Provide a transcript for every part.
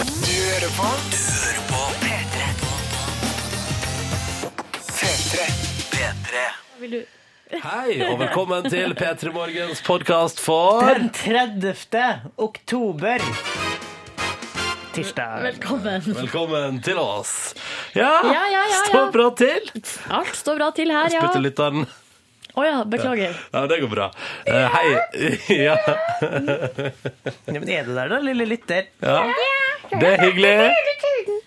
hører på. Du hører på P3. P3. P3. Vil du Hei, og velkommen til P3 Morgens podkast for Den 30. oktober. Tirsdag. Velkommen. Velkommen til oss. Ja, Ja, ja, ja, stå ja. bra til. Alt står bra til her, ja. Spytter litt av den. Å ja, beklager. Ja, det går bra. Eh, hei. Ja. Ja, men er du der, da, lille lytter? ja. Det er hyggelig.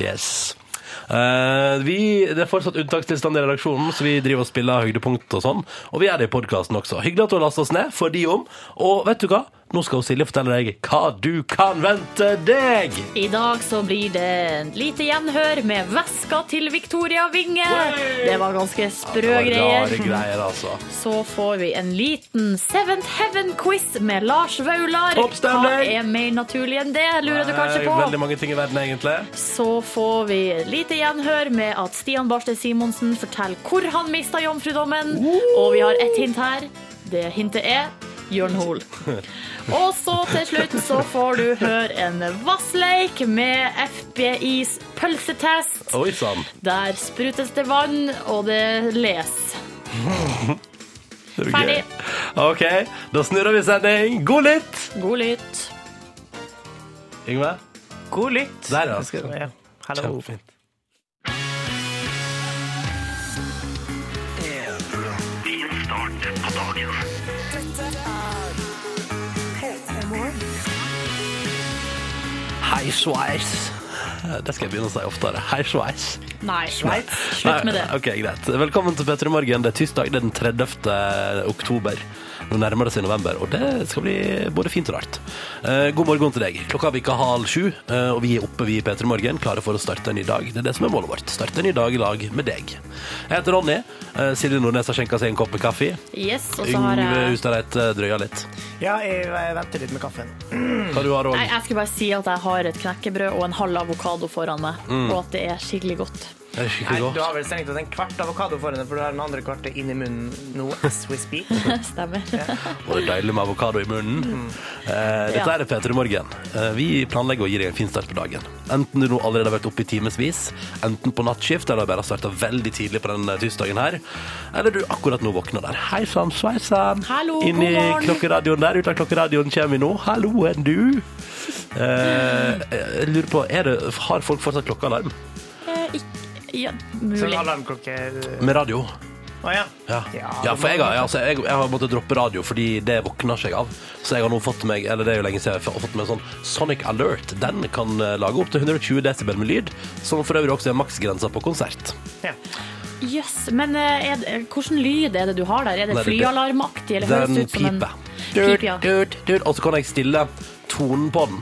Yes. Eh, vi, det er fortsatt unntakstilstand i redaksjonen, så vi driver og spiller høydepunkt og sånn. Og vi er det i podkasten også. Hyggelig at du har lasta oss ned for de om. Og vet du hva? Nå skal Silje fortelle deg hva du kan vente deg. I dag så blir det en lite gjenhør med veska til Victoria Winge. Det var ganske sprø Det var Rare greier. greier, altså. Så får vi en liten Seventh Heaven-quiz med Lars Vaular. Topp stemning! Hva er mer naturlig enn det, lurer du kanskje Nei, Veldig på. mange ting i verden, egentlig. Så får vi et lite gjenhør med at Stian Barstad Simonsen forteller hvor han mista jomfrudommen. Og vi har ett hint her. Det hintet er Jørn Hoel. Og så til slutt så får du høre en vassleik med FBIs pølsetest. Oi sann. Der sprutes det vann, og det les. Det er Ferdig. gøy. OK, da snurrer vi sending. God lytt! God lytt. Yngve? God lytt. Der, ja. Jeg skal- ja. Hallo. Kjempefint. Hei, sveis. Det skal jeg begynne å si oftere. Hei, sveis. Nei, Sveits. Slutt med det. Nei, Ok, greit. Velkommen til Petter i morgen. Det er tirsdag, det er den 30. oktober. Nå nærmer det seg november, og det skal bli både fint og rart. Eh, god morgen til deg. Klokka er ikke halv sju, eh, og vi er oppe vi i Petter i morgen, klare for å starte en ny dag. Det er det som er målet vårt. Starte en ny dag i lag med deg. Jeg heter Ronny. Eh, Silje Nordnes har skjenka seg en kopp med kaffe. Yes, og så har Yngve jeg Hustadreit eh, drøya litt. Ja, jeg eh, venter litt med kaffen. Hva du har du, Hmm. Nei, jeg skulle bare si at jeg har et knekkebrød og en halv avokado foran meg, Mm. og at det er skikkelig godt. Det er Nei, skikkelig du godt. har vel strengt tatt en kvart avokado foran deg, for du har den andre kvarte inni munnen nå as we speak. Stemmer. Og det er deilig med avokado i munnen. Eh, dette Ja. er P3 Morgen. Eh, vi planlegger å gi deg en fin start på dagen. Enten du nå allerede har vært oppe i timevis, enten på nattskift, eller bare har starta veldig tidlig på den eh, tirsdagen her, eller du akkurat nå våkner der. Hei sann, sveisann! Hallo, Inn god i morgen. klokkeradioen der. Ut av klokkeradioen kommer vi nå. Hallo, enn du? Eh, jeg lurer på, er det, har folk fortsatt klokkealarm Eh, ikk- Ja, Sånn mulig. alarmklokke eh, med radio? Å ja. Ja. Ja, ja, for jeg har, altså, jeg, jeg har måttet droppe radio fordi det våkner ikke jeg av. Så jeg har nå fått meg eller det er jo lenge siden jeg har fått meg en sånn Sonic Alert. Den kan eh, lage opptil 120 desibel med lyd, som for øvrig også er maksgrensa på konsert. Ja. Yes, men eh, er det, hvilken lyd er det du har der? Er det Nei, det- flyalarmaktig? Eller høres Den det ut som en piper. Pip, ja. Dut, dut. Og så kan jeg stille tonen på den.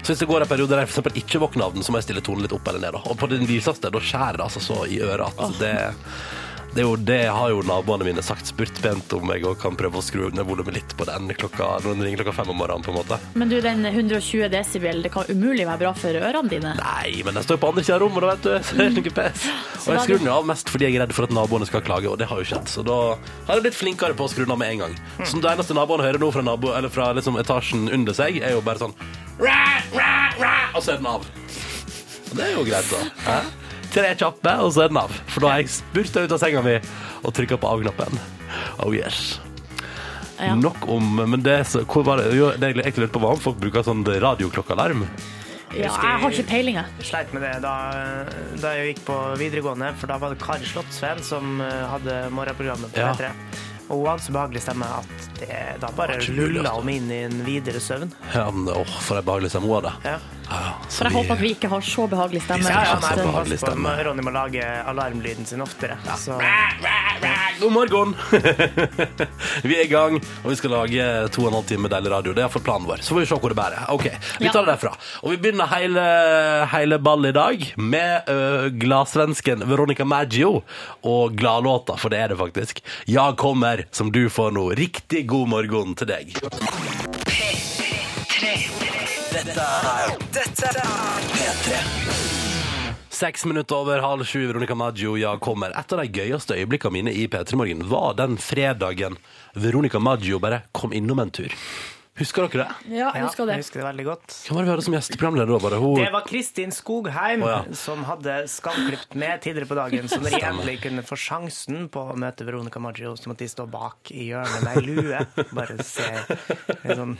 Så hvis det går en periode der jeg for eksempel ikke våkner av den, så må jeg stille tonen litt opp eller ned. Da. Og på den lyseste, da skjærer det altså så i øret at det det, er jo, det har jo naboene mine sagt spurt pent om jeg også kan prøve å skru ned volumet litt på den klokka, når den ringer klokka fem om morgenen. på en måte. Men du, den 120 desibel, det kan umulig være bra for ørene dine. Nei, men den står på andre siden av rommet, da, vet du. Så det er ikke pes. Og jeg skrur den jo av mest fordi jeg er redd for at naboene skal klage, og det har jo skjedd. Så da har jeg blitt flinkere på å skru den av med en gang. Så det eneste naboene hører nå fra, nabo, eller fra liksom etasjen under seg, er jo bare sånn «Ra, ra, ra», Og så er den av. Og det er jo greit, da. Hæ? Tre kjappe, og så er den av. For da har jeg spurta ut av senga mi og trykka på av-knappen. Oh yes. Ja. Nok om Men det, er så, hvor var det, jo, det jeg egentlig lurte på, var om folk bruker sånn radioklokkealarm. Ja, jeg har ikke peiling, jeg. Jeg sleit med det da, da jeg gikk på videregående, for da var det Kari Slottsveen som eh, hadde morgenprogrammet på Ja. P3. Og hun hadde så behagelig stemme at det, da bare Det var ikke mulig, lulla altså. hun inn i en videre søvn. Ja, men åh, for en behagelig stemme hun hadde. Ja. Ja, ja, så For jeg vi- håper at vi ikke har så behagelig stemme. Ja, ja, at- nei, men behagelig pass på, stemme. Ronny må lage alarmlyden sin oftere. Så God morgen! vi er i gang, og vi skal lage to og en halv time med deilig radio. Det er iallfall planen vår. Så får vi se hvor det bærer. Ok, Vi Ja. tar det derfra. Og vi begynner hele, hele ballet i dag med ø, gladsvensken Veronica Maggio og gladlåta, for det er det faktisk. Jeg kommer, som du får nå. Riktig god morgen til deg. Dette er P3. Seks minutter over halv sju, Veronica Maggio, ja, kommer. Et av de gøyeste øyeblikkene mine i P3 Morgen var den fredagen Veronica Maggio bare kom innom en tur. Husker dere det? Ja, jeg husker det. jeg husker det veldig godt. Hvem var det vi hadde som gjesteprogramleder da? Var det hun? Det var Kristin Skogheim Å, ja. som hadde skamklipt med tidligere på dagen, så når jeg Stemmer. endelig kunne få sjansen på å møte Veronica Maggio, så måtte de stå bak i hjørnet med ei lue. Bare se en sånn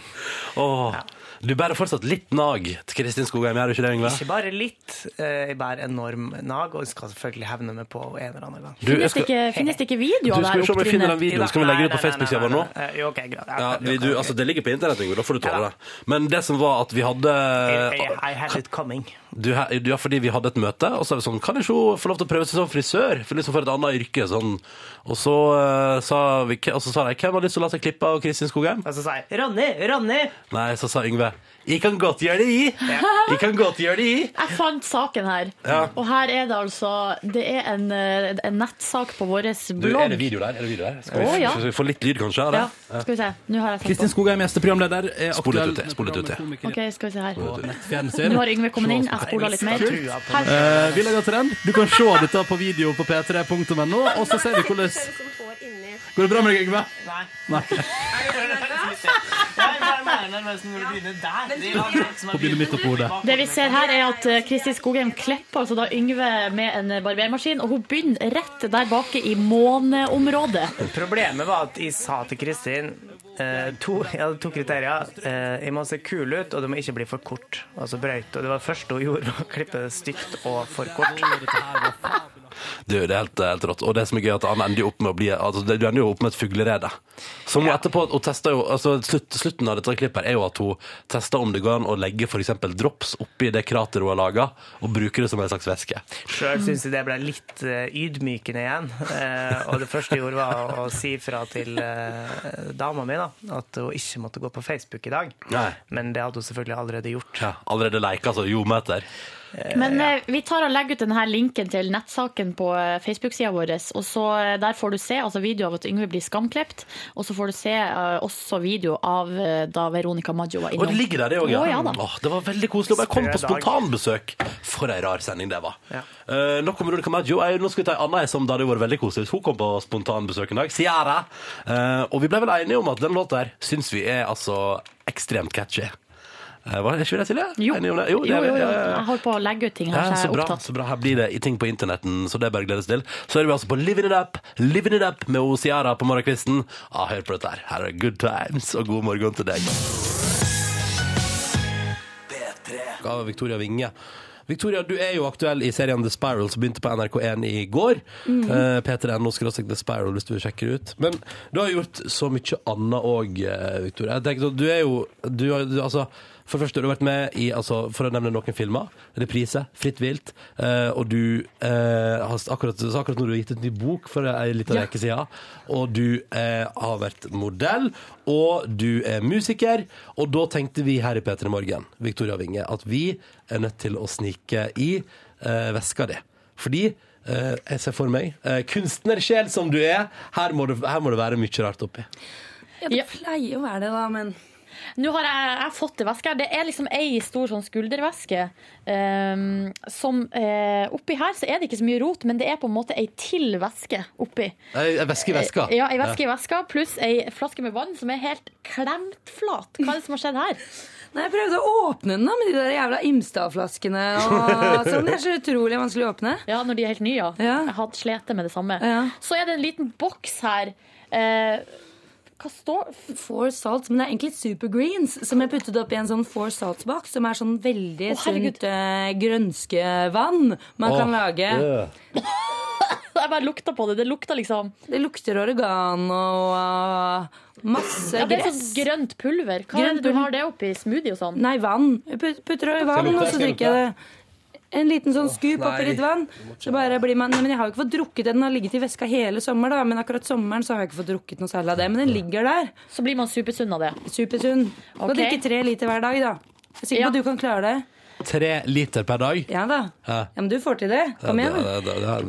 Åh, Du bærer fortsatt litt nag til Kristin Skogheim, gjør du ikke det, Yngve? Ikke bare litt. eh, Jeg bærer enorm nag, og skal selvfølgelig hevne meg på en eller annen gang. Du, jeg Finnes, det skal, ikke, finnes det ikke video av du det skal jo her se om jeg finner opptrinnet? den videoen. Skal vi legge det ut på Facebook-sida vår nå? Jo, ok, greit. Ja, Ja, jo, vi, ok, du, ok. altså, det ligger på internett, Yngve. Da får du tåle Ja. det. Men det som var at vi hadde I, I had it coming. du, du- Ja, fordi vi hadde et møte, og så er vi sånn Kan ikke hun få lov til å prøve seg som frisør? For liksom for et annet yrke, sånn. Og så eh, sa vi Og så sa de Hvem har lyst til å la seg klippe av Kristin Skogheim? Og så sa jeg Ronny, Ronny! Nei, så sa Yngve Jeg kan godt gjøre det, jeg. Jeg kan godt gjøre det, jeg. Jeg fant saken her. Ja. Og her er det altså Det er en, eh, en nettsak på vår Du, er det blogg. video der? Er det video der? Skal vi, Å, ja. skal vi få litt lyd, kanskje? Ja, Eller? skal vi se. Nå har jeg tenkt Kristin på Skogheim, gjesteprogramleder, Spol er litt aktuell ut til, spol litt ut til. Ok, skal vi se her. på nettfjernsyn. Nå har Yngve kommet inn. Jeg spoler litt mer. Trua på Her. Eh, vil jeg gå til den? Du kan se dette på video på p3.no, og så ser vi hvordan Går det bra med deg, Yngve? Nei. Nei. Nei, nei, nei, nei, men når du begynner der Det er akkurat som På bildet midt oppå hodet. Det vi ser her, er at eh, Kristin Skogheim klipper altså da Yngve med en barbermaskin, og hun begynner rett der bake i måneområdet. Problemet var at jeg sa til Kristin eh, to, Jeg hadde to kriterier. Eh, jeg må se kul ut, og det må ikke bli for kort. Og så brøyt. Og det var det første hun gjorde, var å klippe det stygt og for kort. Du, det er helt, eh, helt rått. Og det som er gøy, er at han ender jo opp med å bli altså, det- Du ender jo opp med et fuglerede. Som hun etterpå hun tester jo altså, slutt, Slutten av dette klippet her er jo at hun tester om det går an å legge f.eks. drops oppi det krateret hun har laga, og bruke det som en slags væske. Sjøl syns jeg det ble litt eh, ydmykende igjen. Eh, og det første jeg gjorde, var å, å si fra til eh, dama mi da, at hun ikke måtte gå på Facebook i dag. Nei. Men det hadde hun selvfølgelig allerede gjort. Ja, allerede leika, altså. Jordmeter. Men eh, vi tar og legger ut denne linken til nettsaken på eh, Facebook-sida vår. Og så eh, Der får du se altså video av at Yngve blir skamklipt. Og så får du se eh, også video av eh, da Veronica Maggio var Og det innom. ligger der, det òg. Å, ja da. Åh, det var veldig koselig. Og jeg Sprø kom på dag. spontanbesøk. For ei rar sending det var. Ja. Eh, nok om Veronica Maggio. Jeg- Nå skal vi ta ei anna som det hadde vært veldig koselig hvis hun kom på spontanbesøk en dag. Ciara. Eh, og vi ble vel enige om at den låta her syns vi er altså ekstremt catchy. Eh, hva, er ikke vi det, Silje? Jo. Enige om det? det jo, er vi. jo, jo. Ja, ja, ja. Jeg holder på å legge ut ting her, så Ja, så jeg er bra, opptatt. så bra. Her blir det i ting på internetten, så det er bare å glede seg til. Så er vi altså på Living It Up, Living It Up med O. Ciara på morgenkvisten. Ja, hør på dette her. Her er Good Times, og god morgen til deg. Av Victoria Winge. Victoria, du er jo aktuell i serien The Spiral, som begynte på NRK1 i går. Eh, P3.no skråstrek The Spiral, hvis du vil sjekke det ut. Men du har gjort så mye annet òg, Victoria. Jeg tenker, at du er jo du har, du, altså, For det første, du har vært med i, altså, for å nevne noen filmer, Reprise, Fritt vilt, eh, og du eh, har akkurat, så akkurat nå har du gitt ut en ny bok for ei lita Ja. uke siden, og du eh, har vært modell, og du er musiker, og da tenkte vi her i P3 Morgen, Victoria Winge, at vi er nødt til å snike i eh, veska di. Fordi eh, jeg ser for meg, eh, kunstnersjel som du er, her må det, her må det være mye rart oppi. Ja, det Ja. pleier å være det, da, men Nå har jeg, jeg har fått en veske her. Det er liksom ei stor sånn skulderveske. ehm, som eh, Oppi her så er det ikke så mye rot, men det er på en måte ei til veske oppi. Ei ei veske i veska. Ja, ei veske i veska pluss ei flaske med vann som er helt klemt flat. Hva er det som har skjedd her? Nei, jeg prøvde å åpne den da med de der jævla Imstad-flaskene og sånn. Det er så utrolig vanskelig å åpne. Ja, Når de er helt nye, ja. Ja. Jeg hadde slitt med det samme. Ja. Så er det en liten boks her. Eh, hva står Four salts, men det er egentlig super greens som jeg puttet opp i en sånn four salts-boks, som er sånn veldig Å, herregud. sunt eh, grønskevann man kan lage. Åh, øh. Jeg bare lukta på det. Det lukta liksom Det lukter oregano og masse ja, Det er gress. sånn grønt pulver. Hva er Grønt det du pulver. har det oppi smoothie og sånn? Nei, vann. Jeg put- putter det i vann, lukte? og så Skal jeg drikker jeg det. En liten sånn skup oppi nei. litt vann. Så bare blir man, nei, men Jeg har jo ikke fått drukket den. Den har ligget i veska hele sommer, da. Men akkurat sommeren så har jeg ikke fått drukket noe særlig av det. Men den ligger der. Så blir man supersunn av det. Supersunn. Skal Ok. drikke tre liter hver dag, da. Jeg er sikker Ja. på at du kan klare det. eh, Tre liter per dag. Ja da. Ja. Ja, Men du får til det. Kom Ja, igjen. det- det- det-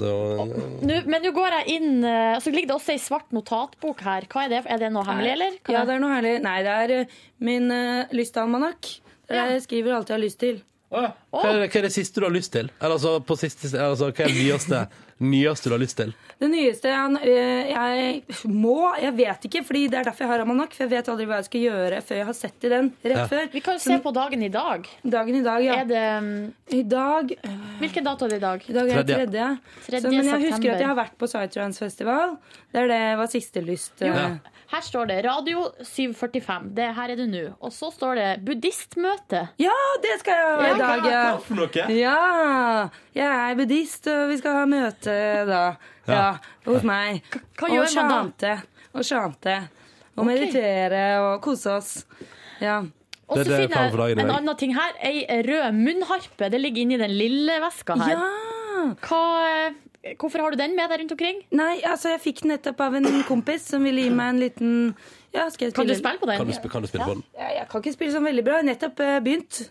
Nå, det- men nå går jeg inn eh, Så ligger det også ei svart notatbok her. Hva Er det Er det noe hemmelig, eller? Kan jeg- Ja, eh, det er noe herlig. Nei, det er eh, min uh, lystanalmanakk. Der Ja. jeg skriver alt jeg har lyst til. Å Hva, er det, hva er det siste du har lyst til? Eller altså, på siste, altså hva er det nyeste, nyeste du har lyst til? Det nyeste jeg, øh, jeg må Jeg vet ikke, fordi det er derfor jeg har almanakk. For jeg vet aldri hva jeg skal gjøre før jeg har sett i den rett Ja. før. Vi kan jo se på dagen i dag. Dagen i dag, ja. Er det, um, I dag, øh, hvilken dato er det i dag? i dag er det Tredje. tredje. Tredje Så, men jeg husker september. at jeg har vært på Psytrance-festival. Der det var siste lyst. øh. Ja. Her står det Radio 745. Det, her er det nå. Og så står det buddhistmøte. Ja, det skal jeg ha i dag. Ja. for noe? Ja, jeg er buddhist, og vi skal ha møte da. Ja, hos meg. hva gjør og man da? sjante, Og sjante. Og meditere og kose oss. Ja. Og så Det er det jeg finner planer for dagen jeg i en dag. annen ting her. Ei rød munnharpe. Det ligger inni den lille veska her. ja. Hva, eh, hvorfor har du den med deg rundt omkring? Nei, altså jeg fikk den nettopp av en kompis som ville gi meg en liten ja, skal jeg Kan du spille? spille på Kan du, den? sp- kan du spille på den? Ja, jeg kan ikke spille sånn veldig bra. Jeg har nettopp eh, begynt.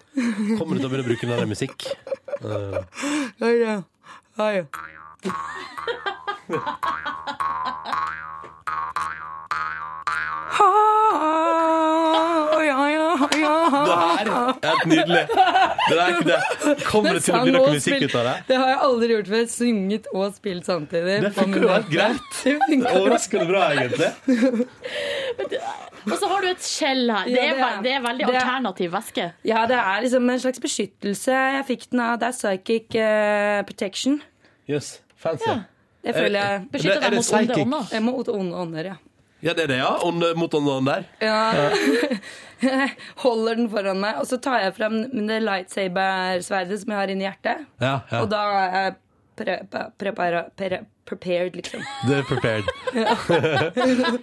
Kommer du til å begynne å bruke den der i musikk? Ha, ja, ja, ja. Det her er helt nydelig. Det der, det. Kommer det til å bli noe musikk ut av det? Det har jeg aldri gjort før. Sunget og spilt samtidig. Det funker jo helt greit. Det Det funker er Overraskende bra, egentlig. Og så har du et skjell her. Ja, Det er, det er- ve- det er veldig det er- alternativ veske. Ja, det er liksom en slags beskyttelse. Jeg fikk den av Det er psychic eh, protection. Jøss, fancy. Ja. Jeg føler jeg, Beskytter Er det deg mot onde psychic? ånder. jeg må ut og onde ånder, ja. Ja, det er det, ja. Ånd mot ånden der. ja. Holder den foran meg, og så tar jeg fram det lightsaber-sverdet som jeg har inni hjertet. Ja, ja. Og da er jeg pre pre prepara- pre prepared, liksom. Det er prepared.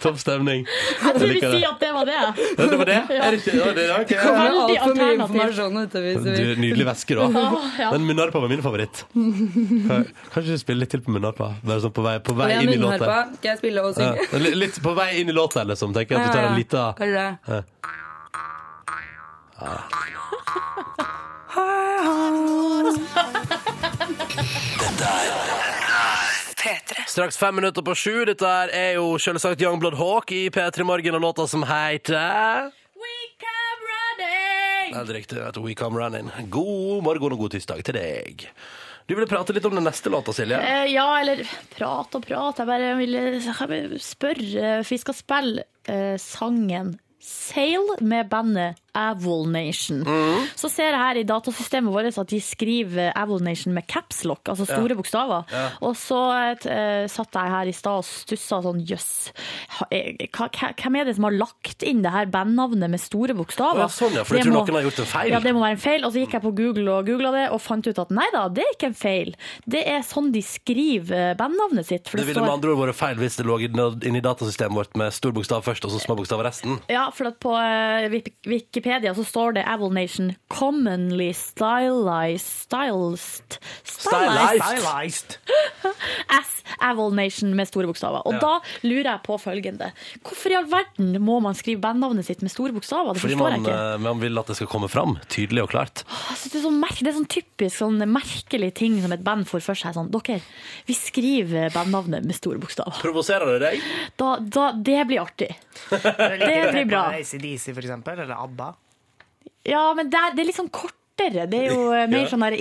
Topp stemning. Jeg tror vi liker det. sier at det var det. Ja, Det var det? Er det ikke? Ja, det er, ok. Det er Veldig altfor mye alternativ. informasjon ute. hvis Du, vi- nydelig væske, da. Åh, ja. Den munnharpa var min favoritt. Kan- Kanskje du spiller litt til på munnharpa? Bare sånn på vei, på Og vei jeg har inn i munnharpa. låta. Skal jeg spille og Ja, synge? li- litt på vei inn i låta, liksom. Tenker jeg at du tar en liten Kanskje det. P3. Straks fem minutter på sju. Dette her er jo selvsagt Youngblood Hawk i P3 Morgen og låta som heter We come running! Helt riktig. At We Come Running. God morgen og god tirsdag til deg. Du ville prate litt om den neste låta, Silje. Eh, ja, eller prat og prat. Jeg bare ville jeg vil spørre. For vi skal spille eh, sangen Sail med bandet Avil Nation. Mm. Så ser jeg her i datasystemet vårt at de skriver Avil Nation med caps lock, altså store bokstaver. Og så eh, satt jeg her i stad og stussa sånn jøss. ha- eh, hva- hva- Hvem er det som har lagt inn det her bandnavnet med store bokstaver? Å ja, sånn, ja, for jeg Det tror må- noen har gjort en feil. Ja, det det må være en feil. Og så gikk jeg på Google og googla det, og fant ut at nei da, det er ikke en feil. Det er sånn de skriver bandnavnet sitt. For Det det, ville med står, andre ord vært feil hvis det lå inni datasystemet vårt med stor bokstav først og så små bokstav resten. ja, for at på eh, Wik- Wikipedia så står det Avil Nation commonly stylized Stylized, stylized Stylized. as Avil Nation med store bokstaver. Og da lurer jeg på følgende. Hvorfor i all verden må man skrive bandnavnet sitt med store bokstaver? Det Fordi forstår man, jeg ikke. eh, man vil at det skal komme fram tydelig og klart. Jeg synes det, er sånn merke, det er sånn typisk sånn merkelig ting som et band får for seg. Sånn, dere, vi skriver bandnavnet med store bokstaver. Provoserer det deg? Da, da, det blir artig. Det blir bra. ACDC, for eksempel, eller ABBA. Ja, men det er, det er litt sånn kortere. Det er jo eh, mer Ja. Mm. sånn der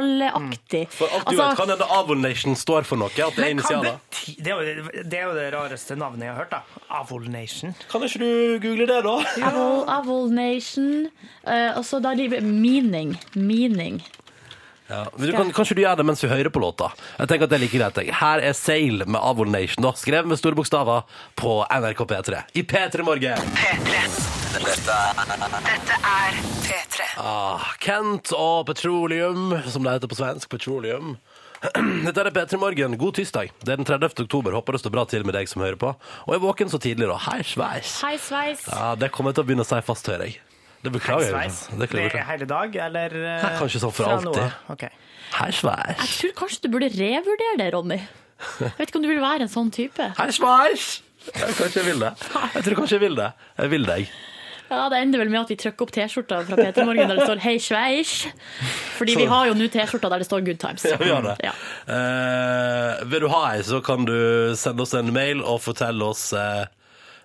initialaktig. For alt du vet, Altså, kan hende Avon Nation står for noe. At det er Men hva initialer. bety- det, er jo det, det er jo det rareste navnet jeg har hørt, da. Avol Nation. Kan ikke du google det, da? Avil, Avil Nation. eh, og så da livet meaning. Meaning. Ja, men du kan, kanskje du gjør det mens du hører på låta. Jeg tenker at det er like greit. jeg. Her er Sail med Avon Nation, da, skrevet med store bokstaver på NRK P3 i P3 Morgen. P3. Dette, dette er P3. Ah, Kent og Petroleum, som det heter på svensk. Petroleum. Dette er P3 Morgen. God tirsdag. Det er den 30. oktober. Håper det står bra til med deg som hører på. Og er våken så tidlig, da. Hei, sveis. Hei, sveis. Ja, det kommer jeg til å begynne å si fast, hører jeg. Det beklager jeg. Sveis. Det Det beklager er jeg. hele dag, eller eh, Nei, kanskje sånn for fra alltid. nå av? Ok. Hei, sveis. Jeg tror kanskje du burde revurdere det, Ronny. Jeg vet ikke om du vil være en sånn type. Hei, sveis. Jeg, kanskje jeg vil det. Jeg tror kanskje jeg vil det. Jeg vil deg. Ja, Det ender vel med at vi trykker opp T-skjorta fra P3 Morgen der det står 'Hei, Schweiz'. Fordi vi Så- har jo nå T-skjorta der det står 'Good Times'. Ja, vi har det. Ja. Eh, vil du ha ei, så kan du sende oss en mail og fortelle oss eh,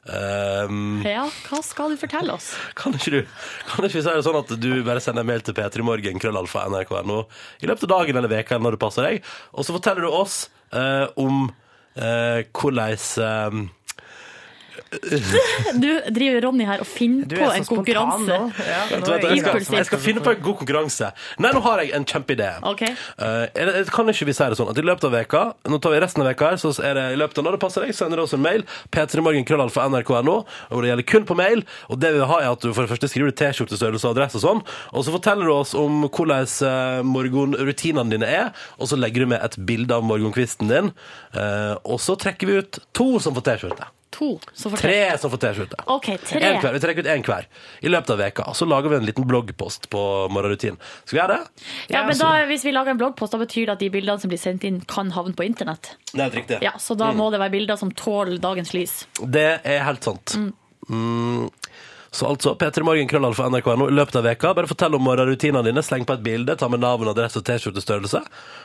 Um, Ja, hva skal du fortelle oss? kan ikke du Kan ikke vi si det sånn at du bare sender en mail til p3morgen, krøllalfa, nrk.no, i løpet av dagen eller veka når det passer deg, og så forteller du oss eh, om eh, hvordan eh, Nå driver Ronny her og finner Du på er så en spontan konkurranse. nå. Ja, nå er Vet du, vet du, jeg, Impulsivt. skal, jeg skal finne på en god konkurranse. Nei, nå har jeg en kjempeidé. Ok. Eh, eller, eller kan ikke vi si det sånn at i løpet av veka, nå tar vi resten av veka her, så er det i løpet av når det passer deg, sender du oss en mail, p3morgenkrøllalfa.nrk.no, og det gjelder kun på mail, og det vi vil ha er at du for det første skriver du t-skjortestørrelse og adresse og sånn, og så forteller du oss om hvordan eh, morgenrutinene dine er, og så legger du med et bilde av morgenkvisten din, eh, og så trekker vi ut to som får t-skjorte. To. Så fortell. Tre som får T-skjorte. Ok, tre. En hver. Vi trekker ut én hver i løpet av veka. Så lager vi en liten bloggpost på morgenrutinen. Skal vi gjøre det? Ja, men da, hvis vi lager en bloggpost, da betyr det at de bildene som blir sendt inn, kan havne på internett. Det er helt riktig. Ja, Så da må det være bilder som tåler dagens lys. Det er helt sant. Mm. Så altså, P3 Morgen, krøllalfa, nrk.no, i løpet av veka. Bare fortell om morgenrutinene dine. Sleng på et bilde, ta med navn, adresse og T-skjortestørrelse.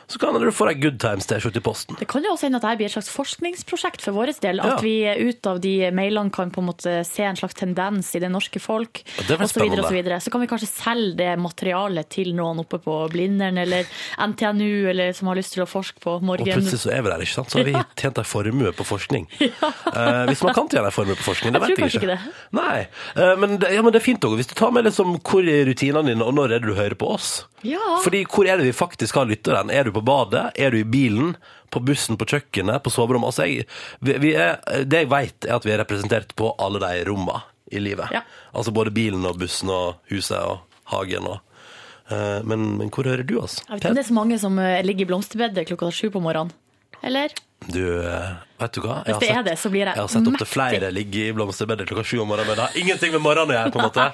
Så kan du få deg Good Times-T-skjorte i posten. Det kan jo også hende at dette blir et slags forskningsprosjekt for vår del. At Ja. vi ut av de mailene kan på en måte se en slags tendens i det norske folk. det er vel og så, videre, spennende. og så, videre. så kan vi kanskje selge det materialet til noen oppe på Blindern eller NTNU, eller som har lyst til å forske på Og morgen. plutselig så er vi der, ikke sant? Så har vi tjent ei formue på forskning. Eh, hvis man kan tjene ei formue på forskning, det Jeg vet tror jeg ikke. kanskje Nei, Eh, men, det, ja, men det er fint òg. Hvis du tar med liksom, hvor er rutinene dine, og når er det du hører på oss? Ja. Fordi hvor er det vi faktisk har lytteren? Er du på badet? Er du i bilen? På bussen, på kjøkkenet, på soverommet? Altså, jeg, vi, vi er, det jeg veit, er at vi er representert på alle de rommene i livet. Ja. Altså både bilen og bussen og huset og hagen og eh, men, men hvor hører du oss? Jeg vet ikke om det er så mange som eh, ligger i blomsterbedet klokka sju på morgenen. Eller? Du, eh, vet du hva? Jeg Hvis det er har sett- det, så blir jeg har sett opp til mektig. flere ligge i blomsterbedet klokka sju om morgenen, men det har ingenting med morgenen å gjøre, på en måtte.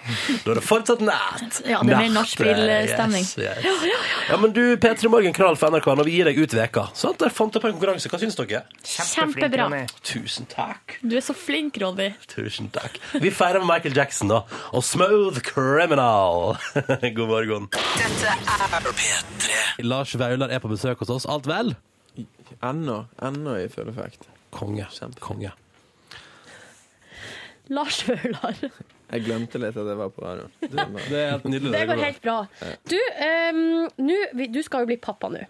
Da er det fortsatt nært. Ja, det er mer Nært, nachspiel-stemning. eh, Yes, yes. Ja, men du, P3 Morgen, krall for NRK, når vi gir deg ut veka, sant? Der fant jeg på en konkurranse. Hva syns dere? Kjempeflink, Kjempebra. Ronny. Tusen takk. Du er så flink, Ronny. Tusen takk. Vi feirer med Michael Jackson, da. Og Smooth Criminal. God morgen. Dette er P3. Lars Vaular er på besøk hos oss. Alt vel? Ennå. Ennå i full effekt. Konge. Konge. Lars Vaular. Jeg glemte litt at jeg var på radio. Det var bare- Det er helt nydelig. Det går helt bra. Du, ehm, nå- vi- du skal jo bli pappa nå.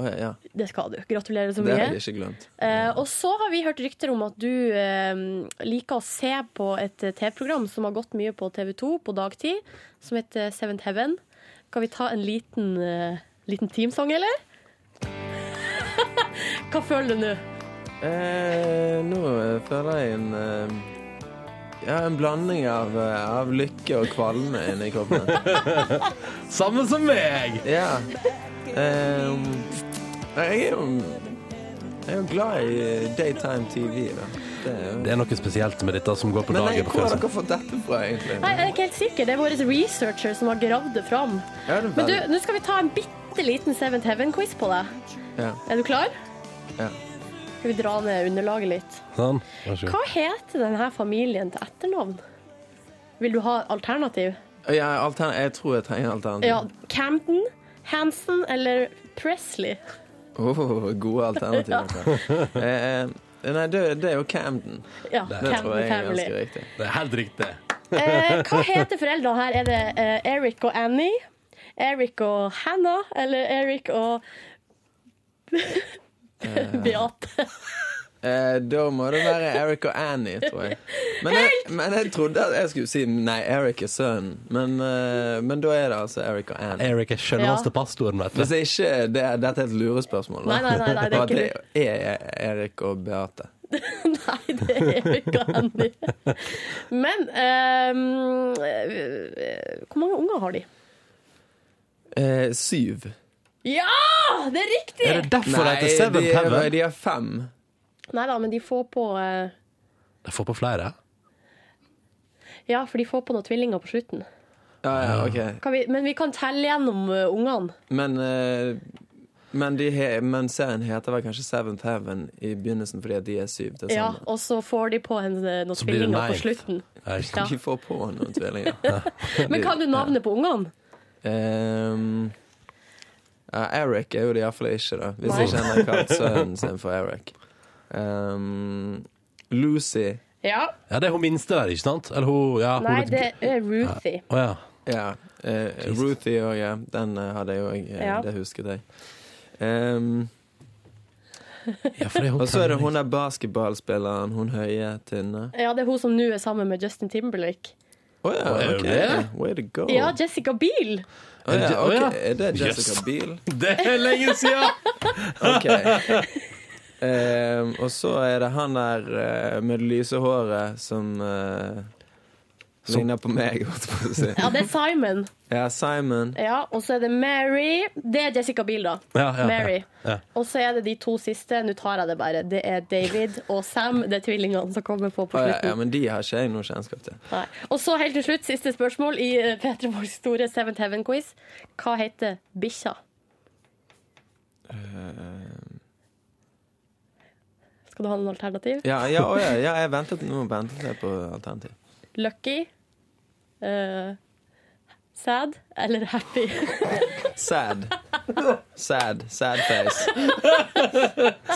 Å, ja. Det skal du. Gratulerer så Det har jeg mye. ikke glemt. Eh, og så har vi hørt rykter om at du ehm, liker å se på et eh, TV-program som har gått mye på TV2 på dagtid, som heter Seventh Heaven. Kan vi ta en liten, eh, liten teamsang, eller? Hva føler du nå? Eh, nå eh, føler jeg en eh, Ja, en blanding av, eh, av lykke og kvalme inni kroppen. Samme som meg! Ja. Eh, jeg er jo Jeg er jo glad i eh, daytime TV, da. Det er jo Det er noe spesielt med dette som går på Men dagen. jeg, på hvor har kvelden. dere fått dette fra, egentlig? Nei, jeg er ikke helt sikker. Det er vår researcher som har gravd det fram. Ja, det er Men du, veldig- nå skal vi ta en bitte liten Seventh Heaven-quiz på deg. Ja. Er du klar? Ja. Skal vi dra ned underlaget litt? Sånn. Vær så god. Hva heter denne familien til etternavn? Vil du ha alternativ? ja, altern jeg tror jeg trenger alternativ. Ja, Camden, Hansen eller Presley? Åh, gode alternativer. eh, nei, det, det er jo Camden. Ja, Det tror Camden jeg er Family. ganske riktig. Det er helt riktig. Eh, hva heter foreldrene her? Er det eh, Eric og Annie? Eric og Hannah? Eller Eric og Beate? Eh, da må det være Eric og Annie, tror jeg. Men jeg, men jeg trodde at jeg skulle si nei, Eric er sønnen, men, eh, men da er det altså Eric og Annie. Erik er selveste pastoren, vet Hvis du. jeg ikke det, er- Dette er et lurespørsmål. da. Nei, nei, nei, nei, det er Og at ikke det er Erik og Beate. Nei, det er Erik og Annie. Men eh, eh, Hvor mange unger har de? Eh, syv. Ja! Ah, Det er riktig! Er det derfor det heter de, Seventh er- Heaven? de er fem. Nei da, men de får på eh, Jeg får på flere. Ja, for de får på noen tvillinger på slutten. Ja, ja, ok. Kan vi, men vi kan telle gjennom eh, ungene. Men, eh, men, de he, men serien heter vel kanskje Seventh Heaven i begynnelsen fordi at de er sånn. syv til Ja, sammen. og så får de på en, eh, noen Så blir det tvillinger på nei. slutten. Ja, ikke sant? De får på noen tvillinger. Men kan du navnet på ungene? Ehm, ja, Eric er jo det iallfall ikke, da. Hvis Nei. jeg kjenner kalt sønnen sin for Eric. Ehm, Lucy Ja. Ja, det er hun minste der, ikke sant? Eller hun, ja, hun Nei, litt- det er Ruthie. Å ja. Ja. eh, Ruthie og ja, den eh, hadde jeg òg. Eh, Ja. Det husket jeg. Ehm, ja, for det er hun og så er det tenåring. hun der basketballspilleren, hun høye, tynne. Ja, det er hun som nå er sammen med Justin Timberlake. Å ja, Å, er ok. det? Way to go. Ja, Jessica Biel! Å ja, Å ja. ok. Er det Jessica Yes. Biel? Det er lenge siden! Ok. Ehm, og så er det han der eh, med det lyse håret som eh, ligner på meg, holdt jeg på å si. Ja, det er Simon. Ja, Simon. Ja, Og så er det Mary. Det er Jessica Biel, da. Ja, ja, ja. Mary. Ja. Og så er det de to siste. Nå tar jeg det bare. Det er David og Sam. Det er tvillingene som kommer på på Å ja, ja, slutten. men de har ikke jeg noe kjennskap til. Nei. Og så helt til slutt, siste spørsmål i P3 Morgens store Seventh Heaven-quiz. Hva heter bikkja? Eh, Skal du ha noen alternativ? Ja, ja, å ja, ja jeg ventet, nå ventet jeg på alternativ. Lucky? eh, sad? Eller happy? Sad. Sad. Sad face.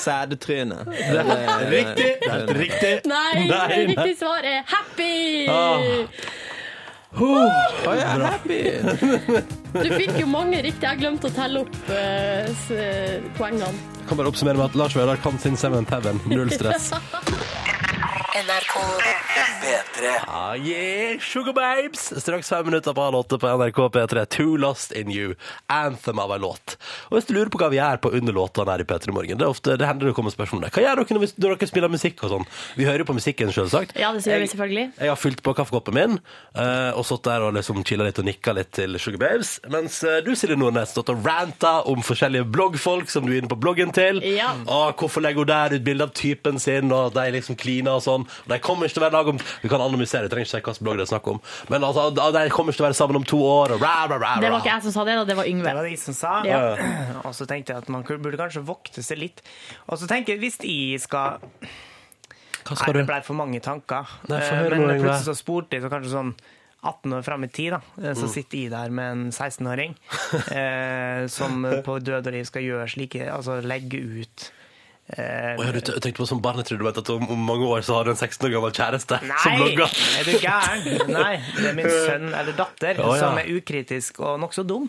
Sad-tryne. Riktig! Det er helt riktig. Nei, Nei, nei. riktig svar er happy! Å ja, happy! Du fikk jo mange riktig. Jeg glemte å telle opp eh, s- poengene. Jeg kan bare oppsummere med at Lars Vaular kan sin Seventh Heaven. Null stress. NRK P3. Ah, yeah, sugar babes! Straks fem minutter på halv åtte på NRK P3. Too Lost In You. Anthem av ei låt. Og hvis du lurer på hva vi gjør på under låtene her i P3 Morgen, det, er ofte, det hender det kommer spørsmål om det. Hva gjør dere når, vi, når dere spiller musikk og sånn? Vi hører jo på musikken, selvsagt. Ja, det sier vi selvfølgelig. Jeg har fylt på kaffekoppen min eh, og stått der og liksom chilla litt og nikka litt til Sugar Babes. Mens eh, du, Silje Nordnes, stått og ranta om forskjellige bloggfolk som du er inne på bloggen til. Ja. Og hvorfor legger hun der ut bilde av typen sin, og at de liksom kliner og sånn. Og de kommer ikke til å være lag om Vi kan anonymisere, vi trenger ikke si hvilken blogg det er snakk om. Men altså, de kommer ikke til å være sammen om to år, og ra, ra, ra, ra. Det var ikke jeg som sa det, da. Det var Det Yngve. var de som sa. Ja. Og så tenkte jeg at man burde kanskje vokte seg litt. Og så tenker jeg, hvis jeg skal Hva Nei, skal det du? ble for mange tanker. Nei, få Eh, høre Men noe, Yngve. plutselig så spurte jeg, så kanskje sånn 18 år fram i tid, da, eh, Mm. så sitter jeg der med en 16-åring eh, som på død og liv skal gjøre slike Altså legge ut eh, Å ja, du t- tenkte på som barn, jeg trodde du vet at om, om mange år så har du en 16 år gammel kjæreste som Nei! blogger. Er du gæren? Nei, det er min sønn eller datter Å, ja. som er ukritisk og nokså dum,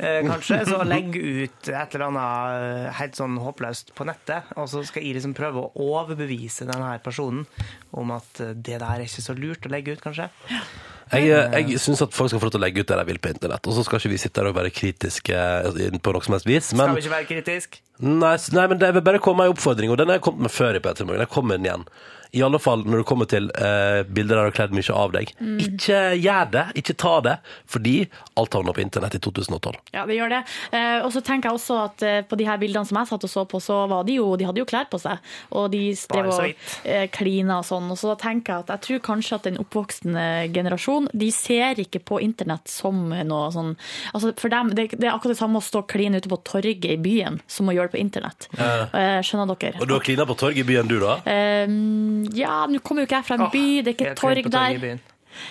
eh, kanskje. Så legger ut et eller annet eh, helt sånn håpløst på nettet, og så skal jeg liksom prøve å overbevise denne her personen om at eh, det der er ikke så lurt å legge ut, kanskje. Jeg, eh, jeg syns at folk skal få lov til å legge ut det de vil på internett. Og så skal ikke vi sitte her og være kritiske eh, på noe som helst vis. Skal Men, vi ikke være kritisk? nei, s- nei, men det vil bare komme en oppfordring, og den har jeg kommet med før i P3 Morgen. Jeg kommer med den igjen. I alle fall når det kommer til eh, bilder der du har kledd mye av deg. Mm. Ikke gjør det, ikke ta det, fordi alt havner på internett i 2012. Ja, det gjør det. Eh, og så tenker jeg også at eh, på de her bildene som jeg satt og så på, så var de jo De hadde jo klær på seg, og de drev Bare så og vidt. eh, klina og sånn. Og så tenker jeg at jeg tror kanskje at den oppvoksende generasjon, de ser ikke på internett som noe sånn Altså for dem, det, det er akkurat det samme å stå og kline ute på torget i byen som å gjøre det på internett. Eh, skjønner dere? Og du har klina på torget i byen, du, da? Eh, ja, nå kommer jo ikke jeg fra en by, det er ikke Jeg et tror torg på torget i der. byen.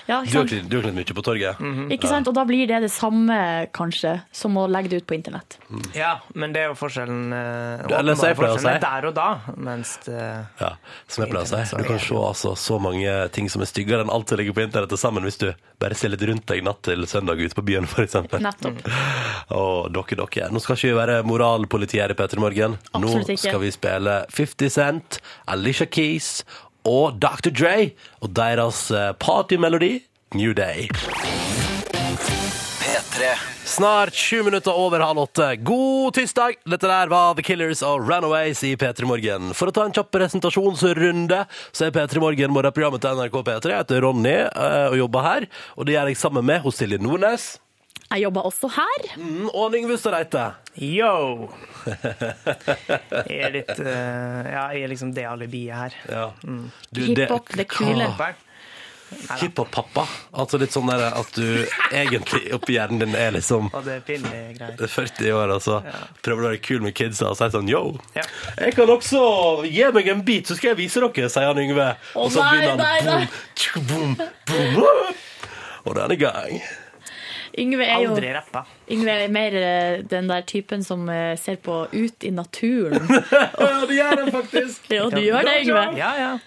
Ja, ikke Du har sant? klint, du har klint mye på torget. Mhm. Ikke sant? Og da blir det det samme, kanskje, som å legge det ut på internett. Ja, men det er jo forskjellen. eh, Du, eller så jeg åpenbare pleier å forskjellen er si. Der og da, mens det Ja, som jeg pleier å si. Du kan se altså, så mange ting som er styggere enn alt som ligger på internett til sammen, hvis du bare ser litt rundt deg natt til søndag ute på byen, for eksempel. Nettopp. Og dere, dere. Nå skal ikke vi være moralpolitiet her i Petter Morgen. Nå Absolutt ikke. skal vi spille 50 Cent, Alicia Keys og Dr. Dre og deres eh, partymelodi New Day. P3. Snart sju minutter over halv åtte. God tirsdag! Dette der var The Killers og Runaways i P3 Morgen. For å ta en kjapp presentasjonsrunde, så er P3 Morgen morgenprogrammet til NRK P3. Jeg heter Ronny eh, og jobber her. Og det gjør jeg sammen med hos Silje Nordnes Jeg jobber også her. mm, og Yngve Ustadreite. Yo! Jeg er litt eh, Ja, jeg er liksom det alibiet her. Ja. Du, Hiphop, det kule. Ah. Bare- Hiphop-pappa. Altså litt sånn der at du egentlig oppi hjernen din er liksom Og det er pinlige greier. 40 år, altså. Prøver å være kul med kidsa og si sånn yo. Ja. Jeg kan også gi meg en bit, så skal jeg vise dere, sier han Yngve. og så nei, begynner nei, han nei. boom, boom, boom, boom. Og da er det i gang. Yngve er jo Aldri rappa. Yngve er mer eh, den der typen som eh, ser på ut i naturen. Ja, det gjør han faktisk. Ja, du gjør det, Yngve. Ja, ja.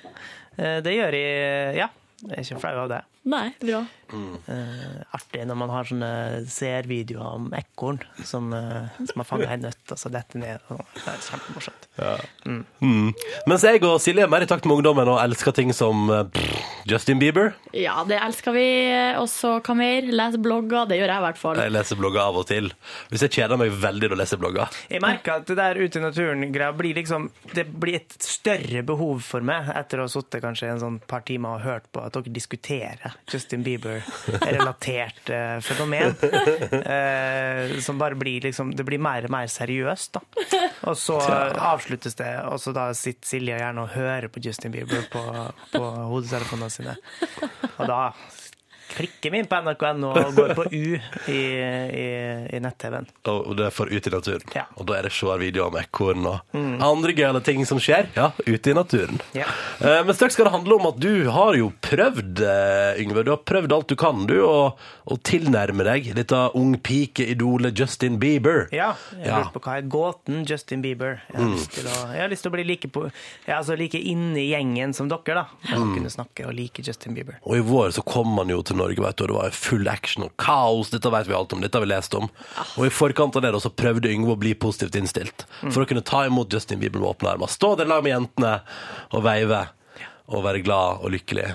Eh, Det gjør jeg Ja, jeg er ikke flau av det. Nei, bra. Artig når man har sånne seervideoer om ekorn som, eh, som har fanga ei nøtt, og så detter ned. og sånn. Det er kjempemorsomt. Mens jeg og Silje er mer i takt med ungdommen og elsker ting som eh, pff, Justin Bieber. Ja, det elsker vi. Og så hva mer? Les blogger. Det gjør jeg i hvert fall. Jeg leser blogger av og til. Hvis jeg kjeder meg veldig når jeg leser blogger. Jeg merker at det der ute i naturen-greia blir liksom Det blir et større behov for meg etter å ha sittet kanskje en sånn par timer og hørt på at dere diskuterer Justin Bieber-relatert eh, fenomen. Eh, som bare blir liksom Det blir mer og mer seriøst, da. Og så avsluttes det, og så da sitter Silje gjerne og hører på Justin Bieber på, på hodetelefonene sine. Og da klikker vi inn på nrk.no og går på U i, i, i nett-TV-en. Og det er for ute i naturen. Ja. Og da er det svære videoer om ekorn og andre gøyale ting som skjer. Ja, ute i naturen. Ja. Eh, Men straks skal det handle om at du har jo prøvd, eh, Yngve. Du har prøvd alt du kan, du, å, å tilnærme deg dette ungpikeidolet Justin Bieber. Ja, jeg Ja. lurte på hva er gåten Justin Bieber. Jeg har, lyst, til å, jeg har lyst til å bli like, på, jeg er altså like inne i gjengen som dere, da. Å kunne snakke og like Justin Bieber. Og i vår så kom han jo til Norge, vet du, og det var full action og kaos. Dette vet vi alt om, dette har vi lest om. Og i forkant av det da, så prøvde Yngve å bli positivt innstilt. For å kunne ta imot Justin Bieber med åpne armer. Stå der lag med jentene og veive. Og være glad og lykkelig.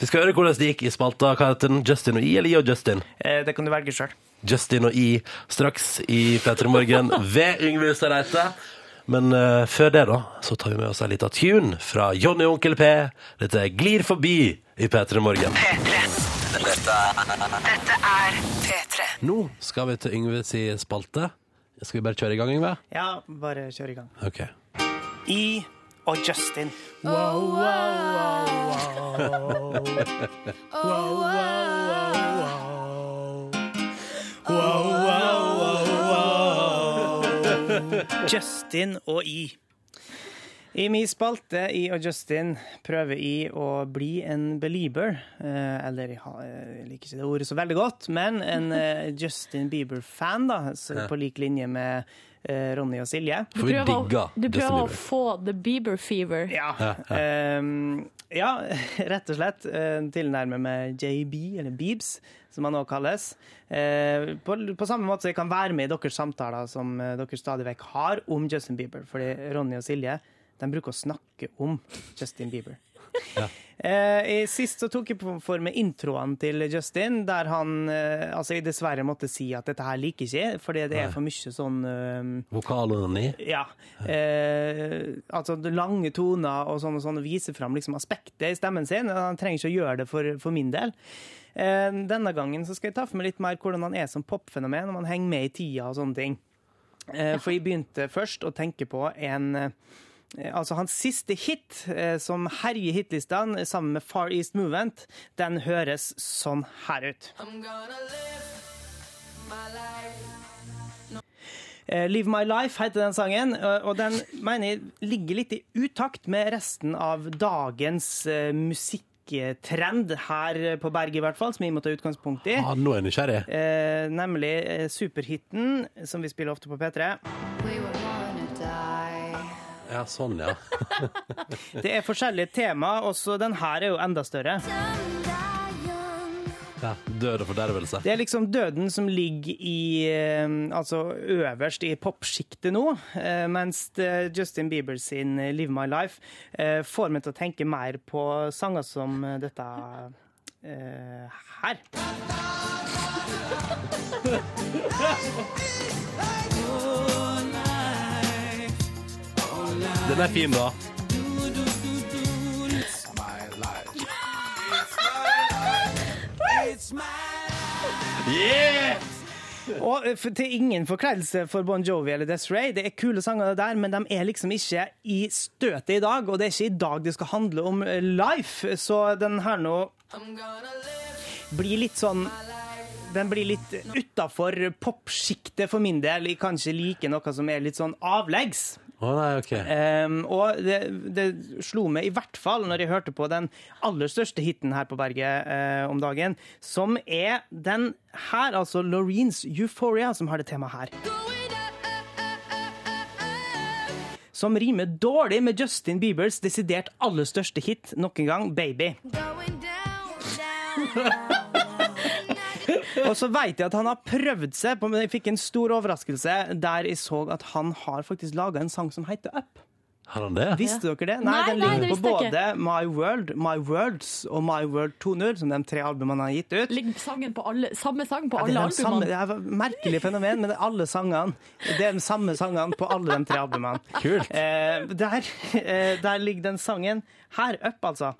Vi skal høre hvordan det gikk i spalta. Hva heter den? Justin og I, eller I og Justin? Eh, det kan du velge sjøl. Justin og I straks i P3 Morgen ved Yngve Hustad Reite. Men eh, før det, da, så tar vi med oss en liten tune fra Johnny og Onkel P. Dette er Glir forbi i P3 Morgen. Dette er P3. Nå skal vi til Yngve si spalte. Skal vi bare kjøre i gang, Yngve? Ja, bare kjør i gang. Ok. I og E Justin. Justin og I. I min spalte I og Justin prøver I å bli en belieber. Eh, eller jeg, har, jeg liker ikke det ordet så veldig godt, men en eh, Justin Bieber-fan, da. Så på lik linje med eh, Ronny og Silje. For vi digger du Justin prøver å Bieber. få the Bieber fever. Ja, Ehm, ja rett og slett. eh, Tilnærmer med JB, eller Beebs, som han også kalles. Eh, På, på samme måte så jeg kan være med i deres samtaler som eh, dere stadig vekk har om Justin Bieber. Fordi Ronny og Silje de bruker å snakke om Justin Bieber. Eh, i- sist så tok jeg på- for meg introen til Justin, der han eh, altså jeg dessverre måtte si at dette her liker ikke jeg, fordi det er for mye sånn eh, Vokalen i. ja. Eh, altså lange toner og sånn og sånn, og viser fram liksom aspektet i stemmen sin. Han trenger ikke å gjøre det for, for min del. Eh, denne gangen så skal jeg ta for meg litt mer hvordan han er som popfenomen, om han henger med i tida og sånne ting. Eh, for jeg begynte først å tenke på en eh, Altså Hans siste hit, eh, som herjer hitlistene eh, sammen med Far East Movement, den høres sånn her ut. Eh, Live My Life heter den sangen, eh, og den mener jeg ligger litt i utakt med resten av dagens eh, musikktrend her eh, på berget, i hvert fall, som vi må ta utgangspunkt i. Ah, nå er jeg nysgjerrig. Eh, nemlig eh, superhiten, som vi spiller ofte på P3. Ja, sånn, ja. Det er forskjellige tema, også den her er jo enda større. ja. Død og fordervelse. Det er liksom døden som ligger i eh, Altså øverst i popsjiktet nå, eh, mens eh, Justin Bieber sin eh, 'Live My Life' eh, får meg til å tenke mer på sanger som eh, dette eh, her. Den er fin, da. Yeah! Og eh, for- til ingen forkledelse for Bon Jovi eller Desiree. Det er kule sanger det der, men de er liksom ikke i støtet i dag. Og det er ikke i dag det skal handle om eh, life. Så den her nå blir litt sånn den blir litt utafor popsjiktet for min del. Jeg kan ikke like noe som er litt sånn avleggs. Å nei, ok. Ehm, og det, det slo meg i hvert fall når jeg hørte på den aller største hiten her på berget eh, om dagen, som er den her, altså Loreens Euphoria, som har det temaet her. som rimer dårlig med Justin Biebers desidert aller største hit noen gang, 'Baby'. Og så veit jeg at han har prøvd seg, på, men jeg fikk en stor overraskelse der jeg så at han har faktisk laga en sang som heter Up. Har han det? Visste dere det? Nei, den nei, ligger det på visste jeg både My World, My Worlds og My World 2.0, som de tre albumene han har gitt ut. Ligger sangen på alle, samme sang på Ja, det, alle er de samme, det albumene? er et merkelig fenomen, men det er alle sangene. Det er de samme sangene på alle de tre albumene. Kult. Eh, der, eh, der ligger den sangen. Her, Up, altså.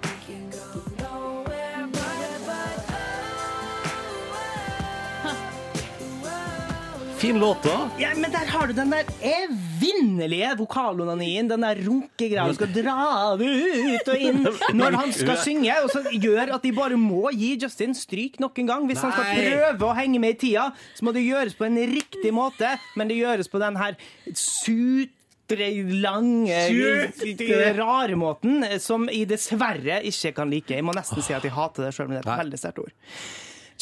Fin låt, da. Ja, men der har du den der evinnelige vokalonanien. Den der runkegreia. Du skal dra det ut og inn når han skal synge. Og så gjør at de bare må gi Justin stryk nok en gang. Hvis han skal Nei. prøve å henge med i tida, så må det gjøres på en riktig måte, men det gjøres på den her sutre, lange, Sutre. rare måten, eh, som jeg dessverre ikke kan like. Jeg må nesten si at jeg hater det, sjøl om det er et Nei. veldig sterkt ord.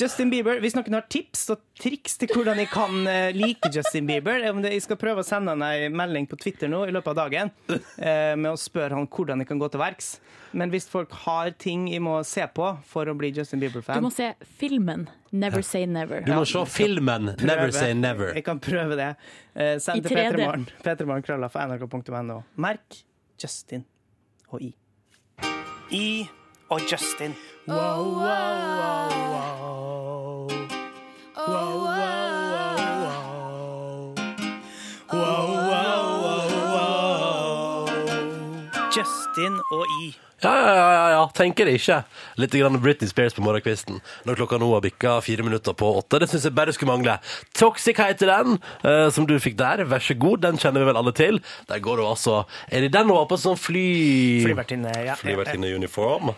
Justin Bieber, Hvis noen har tips og triks til hvordan jeg kan eh, like Justin Bieber eh, om det, Jeg skal prøve å sende han en melding på Twitter nå i løpet av dagen eh, med å spørre han hvordan jeg kan gå til verks. Men hvis folk har ting jeg må se på for å bli Justin Du Bieber-fan må se filmen Never Say Never. Du må se filmen Never prøve. Say Never. Jeg kan prøve det. Eh, I Send til 3D. Petremorgen. Petremorgen krølla for nrk.no. Merk Justin og I. I og Justin. Wow, wow, wow, wow. Wow, wow, wow, wow. Wow, wow, wow, wow. Justin og I. Ja, ja, ja, ja, ja, tenker det ikke. Litt grann Britney Spears på morgenkvisten. Når klokka nå har bikka fire minutter på åtte. Det syns jeg bare skulle mangle. Toxic heter den, eh, som du fikk der. Vær så god, den kjenner vi vel alle til. Der går hun altså Er det den hun har på sånn fly... Flyvertinne. Ja. Flyvertinne i uniform?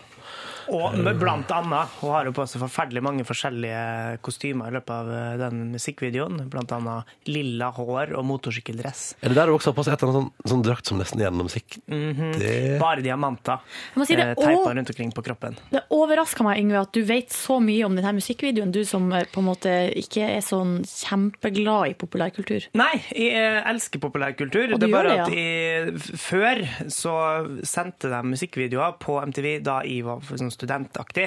Og med blant annet, hun har jo på seg forferdelig mange forskjellige kostymer i løpet av eh, den musikkvideoen. Blant annet lilla hår og motorsykkeldress. Er det der hun også har på seg et eller annet sånn, sånn drakt som nesten er gjennomsiktig? Det Bare diamanter. Jeg må si det, eh, og- Teipa rundt omkring på kroppen. Det overrasker meg, Yngve, at du vet så mye om denne musikkvideoen, du som eh, på en måte ikke er sånn kjempeglad i populærkultur. Nei, jeg eh, elsker populærkultur. Og Det du er bare gjør at det, jeg, f- før så sendte de musikkvideoer på MTV da jeg var for sånn studentaktig.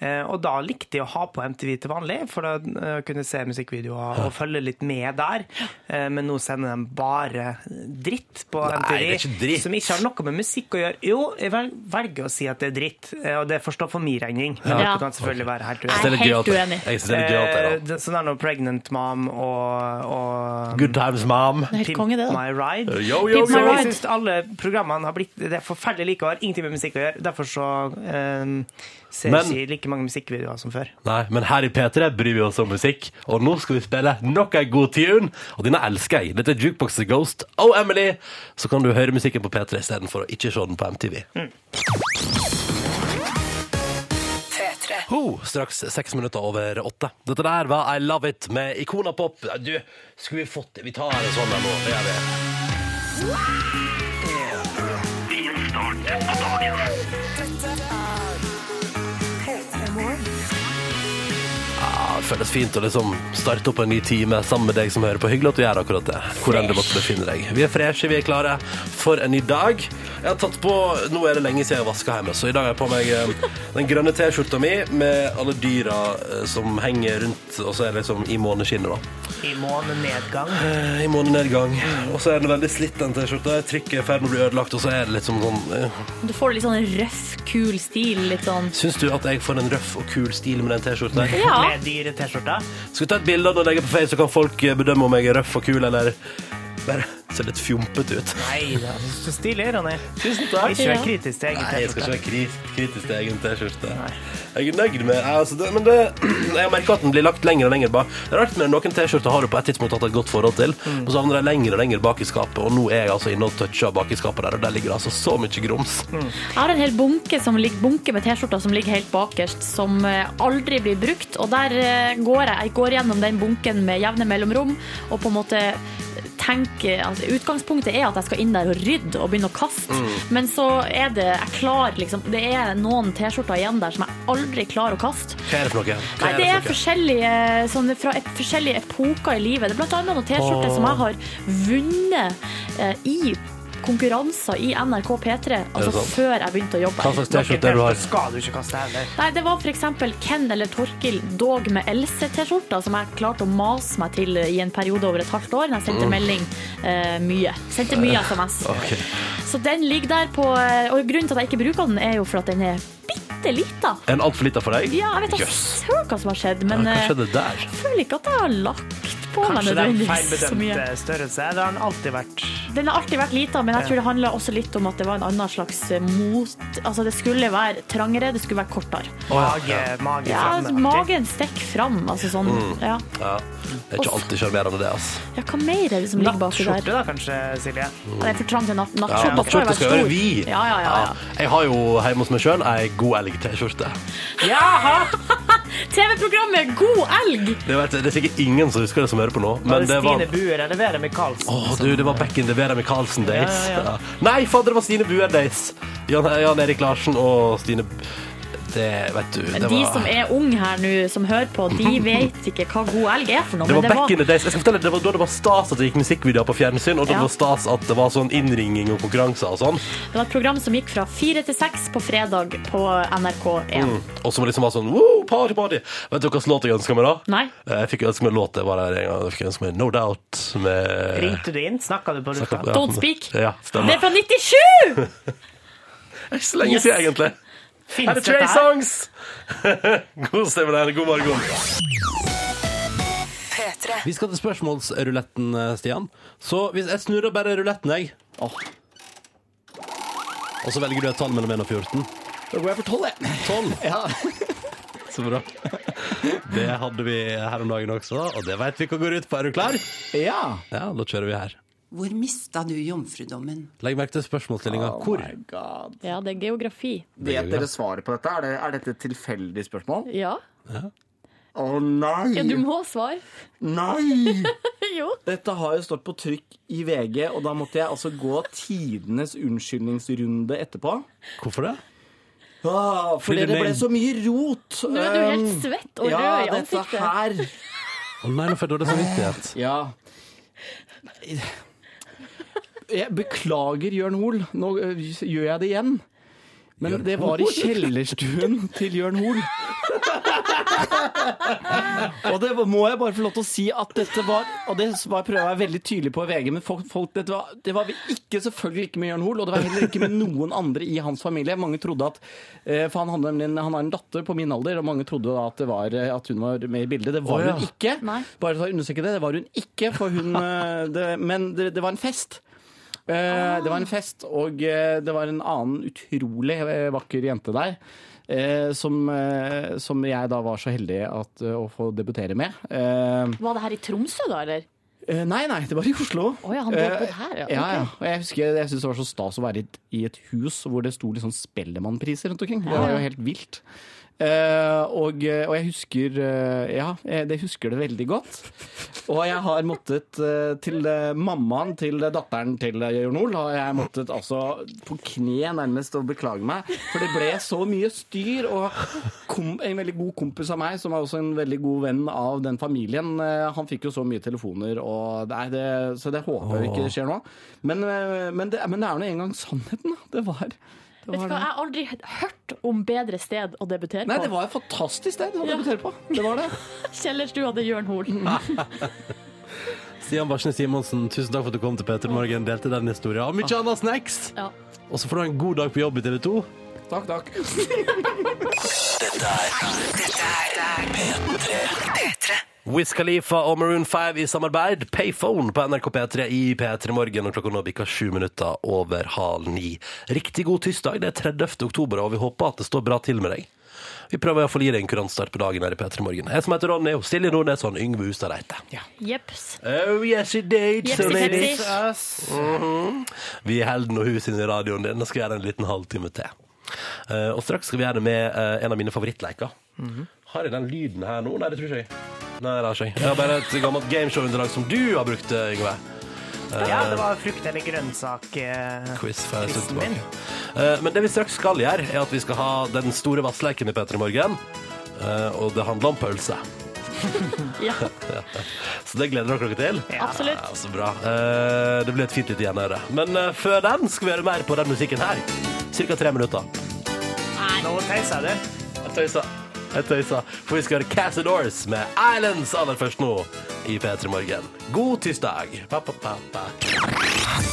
Eh, Og da likte jeg å ha på MTV til vanlig, for da eh, kunne jeg se musikkvideoer og følge litt med der. Eh, Men nå sender de bare dritt på Nei, MTV. det er ikke dritt. Som ikke har noe med musikk å gjøre. Jo, jeg vel- velger å si at det er dritt, eh, og det forstår for min regning. Men Ja. Du kan selvfølgelig være helt Jeg synes uenig. det er litt Helt gøy at det- uenig. Jeg synes det er litt gøy at det er Eh, da. det- Sånn er nå Pregnant Mom og, og Good times, mom. Det er helt Pimp konge, det. da. My Ride. Yo, yo, Pimp Så My yo. Ride. jeg synes alle programmene har blitt Det er forferdelig like og har ingenting med musikk å gjøre. Derfor så ehm, ser Men- jeg ikke like mange musikkvideoer som før. Nei, men her i P3 bryr vi oss om musikk, og nå skal vi spille nok en god tune. Og denne elsker jeg. Dette er Jukebox The Ghost og Emily. Så kan du høre musikken på P3 istedenfor å ikke se den på MTV. P3. Ho, straks seks minutter over åtte. Dette der var I Love It med Ikona Pop. Du, skulle vi fått det? Vi tar en sånn her nå. Det gjør vi. Ja, det føles fint å liksom starte opp en ny time sammen med deg som hører på. Hyggelig at du gjør akkurat det. Hvor enn du måtte befinne deg. Vi er freshe, vi er klare for en ny dag. Jeg har tatt på, Nå er det lenge siden jeg vaska hjemme, så i dag har jeg på meg eh, den grønne T-skjorta mi med alle dyra eh, som henger rundt, og så er det liksom i måneskinnet, da. I månednedgang. Eh, I månednedgang. Og så er den veldig slitt, den T-skjorta. Trykket er i ferd med å bli ødelagt, og så er det litt som sånn eh, Du får litt sånn røff, kul stil. Litt sånn Syns du at jeg får en røff og kul stil med den T-skjorta? her? Ja. Med dyre T-skjorter. Skal vi ta et bilde av det og legge på Face, så kan folk eh, bedømme om jeg er røff og kul, eller bare ser litt fjompete ut. Nei da, så stilig, Ronny. Tusen Ikke vær kritisk til Nei, jeg egen T-skjorte. skal ikke være kritisk, kritisk til egen T-skjorte. Jeg er nøyd med altså, det, Men det, jeg merker at den blir lagt lenger og lenger bak. Det er rart med noen T-skjorter har du på et tidspunkt hatt et godt forhold til, Mm. og så havner de lenger og lenger bak i skapet, og nå er jeg altså inne og toucher bak i skapet der, og der ligger det altså så mye grums. Jeg har en hel bunke, som ligger, bunke med T-skjorter som ligger helt bakerst, som eh, aldri blir brukt. Og der eh, går jeg, jeg går gjennom den bunken med jevne mellomrom og på en måte tenker altså, Utgangspunktet er at jeg skal inn der og rydde og begynne å kaste, men så er det jeg klarer liksom Det er noen T-skjorter igjen der som jeg aldri klarer å kaste. Hva er det for noe? Hva Nei, det er for noe? forskjellige, sånn, fra et, forskjellige epoker i livet. Det er blant annet noen T-skjorter som jeg har vunnet eh, i konkurranser i NRK P3 altså sant? før jeg begynte å jobbe. Hva slags T-skjorte du har? skal du ikke kaste heller. Nei, Det var f.eks. Ken eller Torkil Dog med Else-T-skjorta, som jeg klarte å mase meg til i en periode over et halvt år. når Jeg sendte melding eh, mye. Sendte mye SMS. Så den ligger der på eh, Og grunnen til at jeg ikke bruker den, er jo for at den er bitte lita. En altfor lita for deg? Ja, jeg vet da Jøss. søren hva som har skjedd, Ja, men Hva eh, skjedde der? jeg føler ikke at jeg har lagt på Kanskje meg det er en nødvendigvis så mye. feilbedømt eh, størrelse. Det har den alltid vært. Den har alltid vært lita, men jeg tror det handla også litt om at det var en annen slags eh, mot... Altså, det skulle være trangere, det skulle være kortere. Mage, mage Ja, framme, altså, aktig. magen stikker fram, altså sånn. Ja. Mm. Ja. Det er ikke alltid sjarmerende, det. altså. ass ja, hva mer er det som ligger baki Nattskjorte, der? da kanskje, Silje? Ja, det er for trangt til natt. Ja, Nattskjorta skal jo Nattskjorte være skal være stor. vid. Ja, ja, ja, ja. Jeg har jo hjemme hos meg sjøl ei god elg-T-skjorte. Jaha! TV-programmet God elg! Det, vet jeg- det er sikkert ingen som husker det som hører på nå, Var men det det var Stine Buer eller Vera Michaelsen? Åh, du, det var back in the Vera Michaelsen days. Ja, ja, ja. Ja. Nei, fader, det var Stine Buer days. Jan, Jan Erik Larsen og Stine Det, vet du, det De som var er unge her nå, som hører på, de vet ikke hva God elg er for noe. det var Men det back in var the days. Jeg skal fortelle, deg, det var da det var stas at det gikk musikkvideoer på fjernsyn, og Ja. da det var stas at det var sånn innringing og konkurranser og sånn. det var et program som gikk fra fire til seks på fredag på NRK1. Og som liksom var sånn Woo, party, party! Vet du hva slags låt jeg ønska meg da? Nei. Eh, Jeg fikk ønske meg en låt. Jeg var der en gang. Jeg fikk ønske meg No Doubt med Ringte du inn? Snakka du på lufta? Ja. Don't Speak. Ja, Det er stemmer. fra 97! Det er ikke så lenge siden, egentlig. Her er Fins Trey dette her? Songs! God stemning her. God morgen. P3. Vi skal til spørsmålsruletten, eh, Stian. Så hvis jeg snurrer bare ruletten, jeg. Og så velger du et tall mellom 1 og 14. Da går jeg for tolv, jeg. 12. Ja. Så bra. Det hadde vi her om dagen også, og det veit vi hva går ut på. Er du klar? ja. Ja, da kjører vi her. Hvor mista du jomfrudommen? Legg merke til spørsmålsstillinga. Hvor? God. Ja, det er geografi. Vet dere svaret på dette? Er, det, er dette et tilfeldig spørsmål? Ja. Å nei! ja, du må svare. Nei! Jo. Dette har jo stått på trykk i VG, og da måtte jeg altså gå tidenes unnskyldningsrunde etterpå. Hvorfor det? Ah, fordi Fordi det det- ble så mye rot. Nå er du helt svett Um, og ja, rød i dette ansiktet. her. Å nei, nå får jeg dårlig samvittighet. Ja. Jeg beklager, Jørn Hoel. Nå ø, gjør jeg det igjen. Men det var i kjellerstuen til Jørn Hoel. og det var- må jeg bare få lov til å si at dette var Og det var, prøver jeg å være veldig tydelig på i VG, men folk, folk, dette var, det var vi ikke selvfølgelig ikke med Jørn Hoel, og det var heller ikke med noen andre i hans familie. Mange trodde at eh, For han, hadde nemlig en, han har en datter på min alder, og mange trodde da at, det var, eh, at hun var med i bildet. Det var Å, ja. hun ikke. Nei. Bare for å understreke det, det var hun ikke, for hun eh, det, Men det, det var en fest. Eh, Det var Ah. en fest, og eh, det var en annen utrolig eh, vakker jente der. eh, Som, eh, som jeg da var så heldig at, eh, å få debutere med. Eh, Var det her i Tromsø, da, eller? eh, Nei, nei, det var i Oslo. Å ja, han bodde Eh, her, ja. ja. ja, Og jeg husker jeg syntes det var så stas å være i et, i et hus hvor det sto liksom Spellemannpriser rundt omkring. Det var jo helt vilt. Eh, og, og jeg husker eh, Ja, jeg det husker det veldig godt. Og jeg har måttet eh, til eh, mammaen til datteren til eh, Jørn Hoel har jeg måttet altså på kne nærmest og beklage meg. For det ble så mye styr. Og kom, en veldig god kompis av meg, som er også en veldig god venn av den familien, eh, han fikk jo så mye telefoner, og nei, det, så det håper jeg ikke skjer nå. Men, eh, men, det, men det er nå engang sannheten, da. Det var det Vet du hva, var Jeg har aldri hørt om bedre sted å debutere Nei, det på. var et fantastisk sted å debutere på. Det var det. Mm. Kjellerstua til Jørn Hoel. Stian Barsnes Simonsen, tusen takk for at du kom til Peter Morgen. Delte den historien. Og mye annet snacks! Ja. Og så får du ha en god dag på jobb i TV 2. Takk, takk. Wiz Khalifa og Maroon 5 i samarbeid. Payphone på NRK P3 i P3 Morgen. Og klokka nå bikker sju minutter over halv ni. Riktig god tirsdag. Det er 30. oktober, og vi håper at det står bra til med deg. Vi prøver iallfall å gi deg en kurantstart på dagen her i P3 Morgen. Jeg som heter Ronny, og Silje Nordnes og Yngve Hustad Reite. Jeps. Oh, yes, it did, Jepsi, so it pepsi. is. Vi holder nå huset inne i radioen din. Nå skal vi gjøre en liten halvtime til. Eh, og straks skal vi gjøre det med eh, en av mine favorittleker. Har jeg den lyden her nå? Nei, det tror ikke jeg. Nei, det har ikke jeg. Jeg har bare et gammelt gameshow-underlag som du har brukt, eh, Yngve. Mm. Ja, det var frukt eller grønnsak. eh, Quiz for en stund Quizen min. tilbake. Eh, men det vi straks skal gjøre, er at vi skal ha den store vassleken i P3 Morgen. Eh, og det handler om pølse. Ja, Så det gleder dere dere til? absolutt. Ja, så bra. Eh, det blir et fint lite gjenhøre. Men eh, før den skal vi høre mer på den musikken her. Cirka tre minutter. Nå teiser jeg det. Jeg tøysa. Jeg tøysa. For vi skal høre Cassadors med Islands aller først nå i P3 Morgen. God tirsdag. Pa, pa, pa, pa.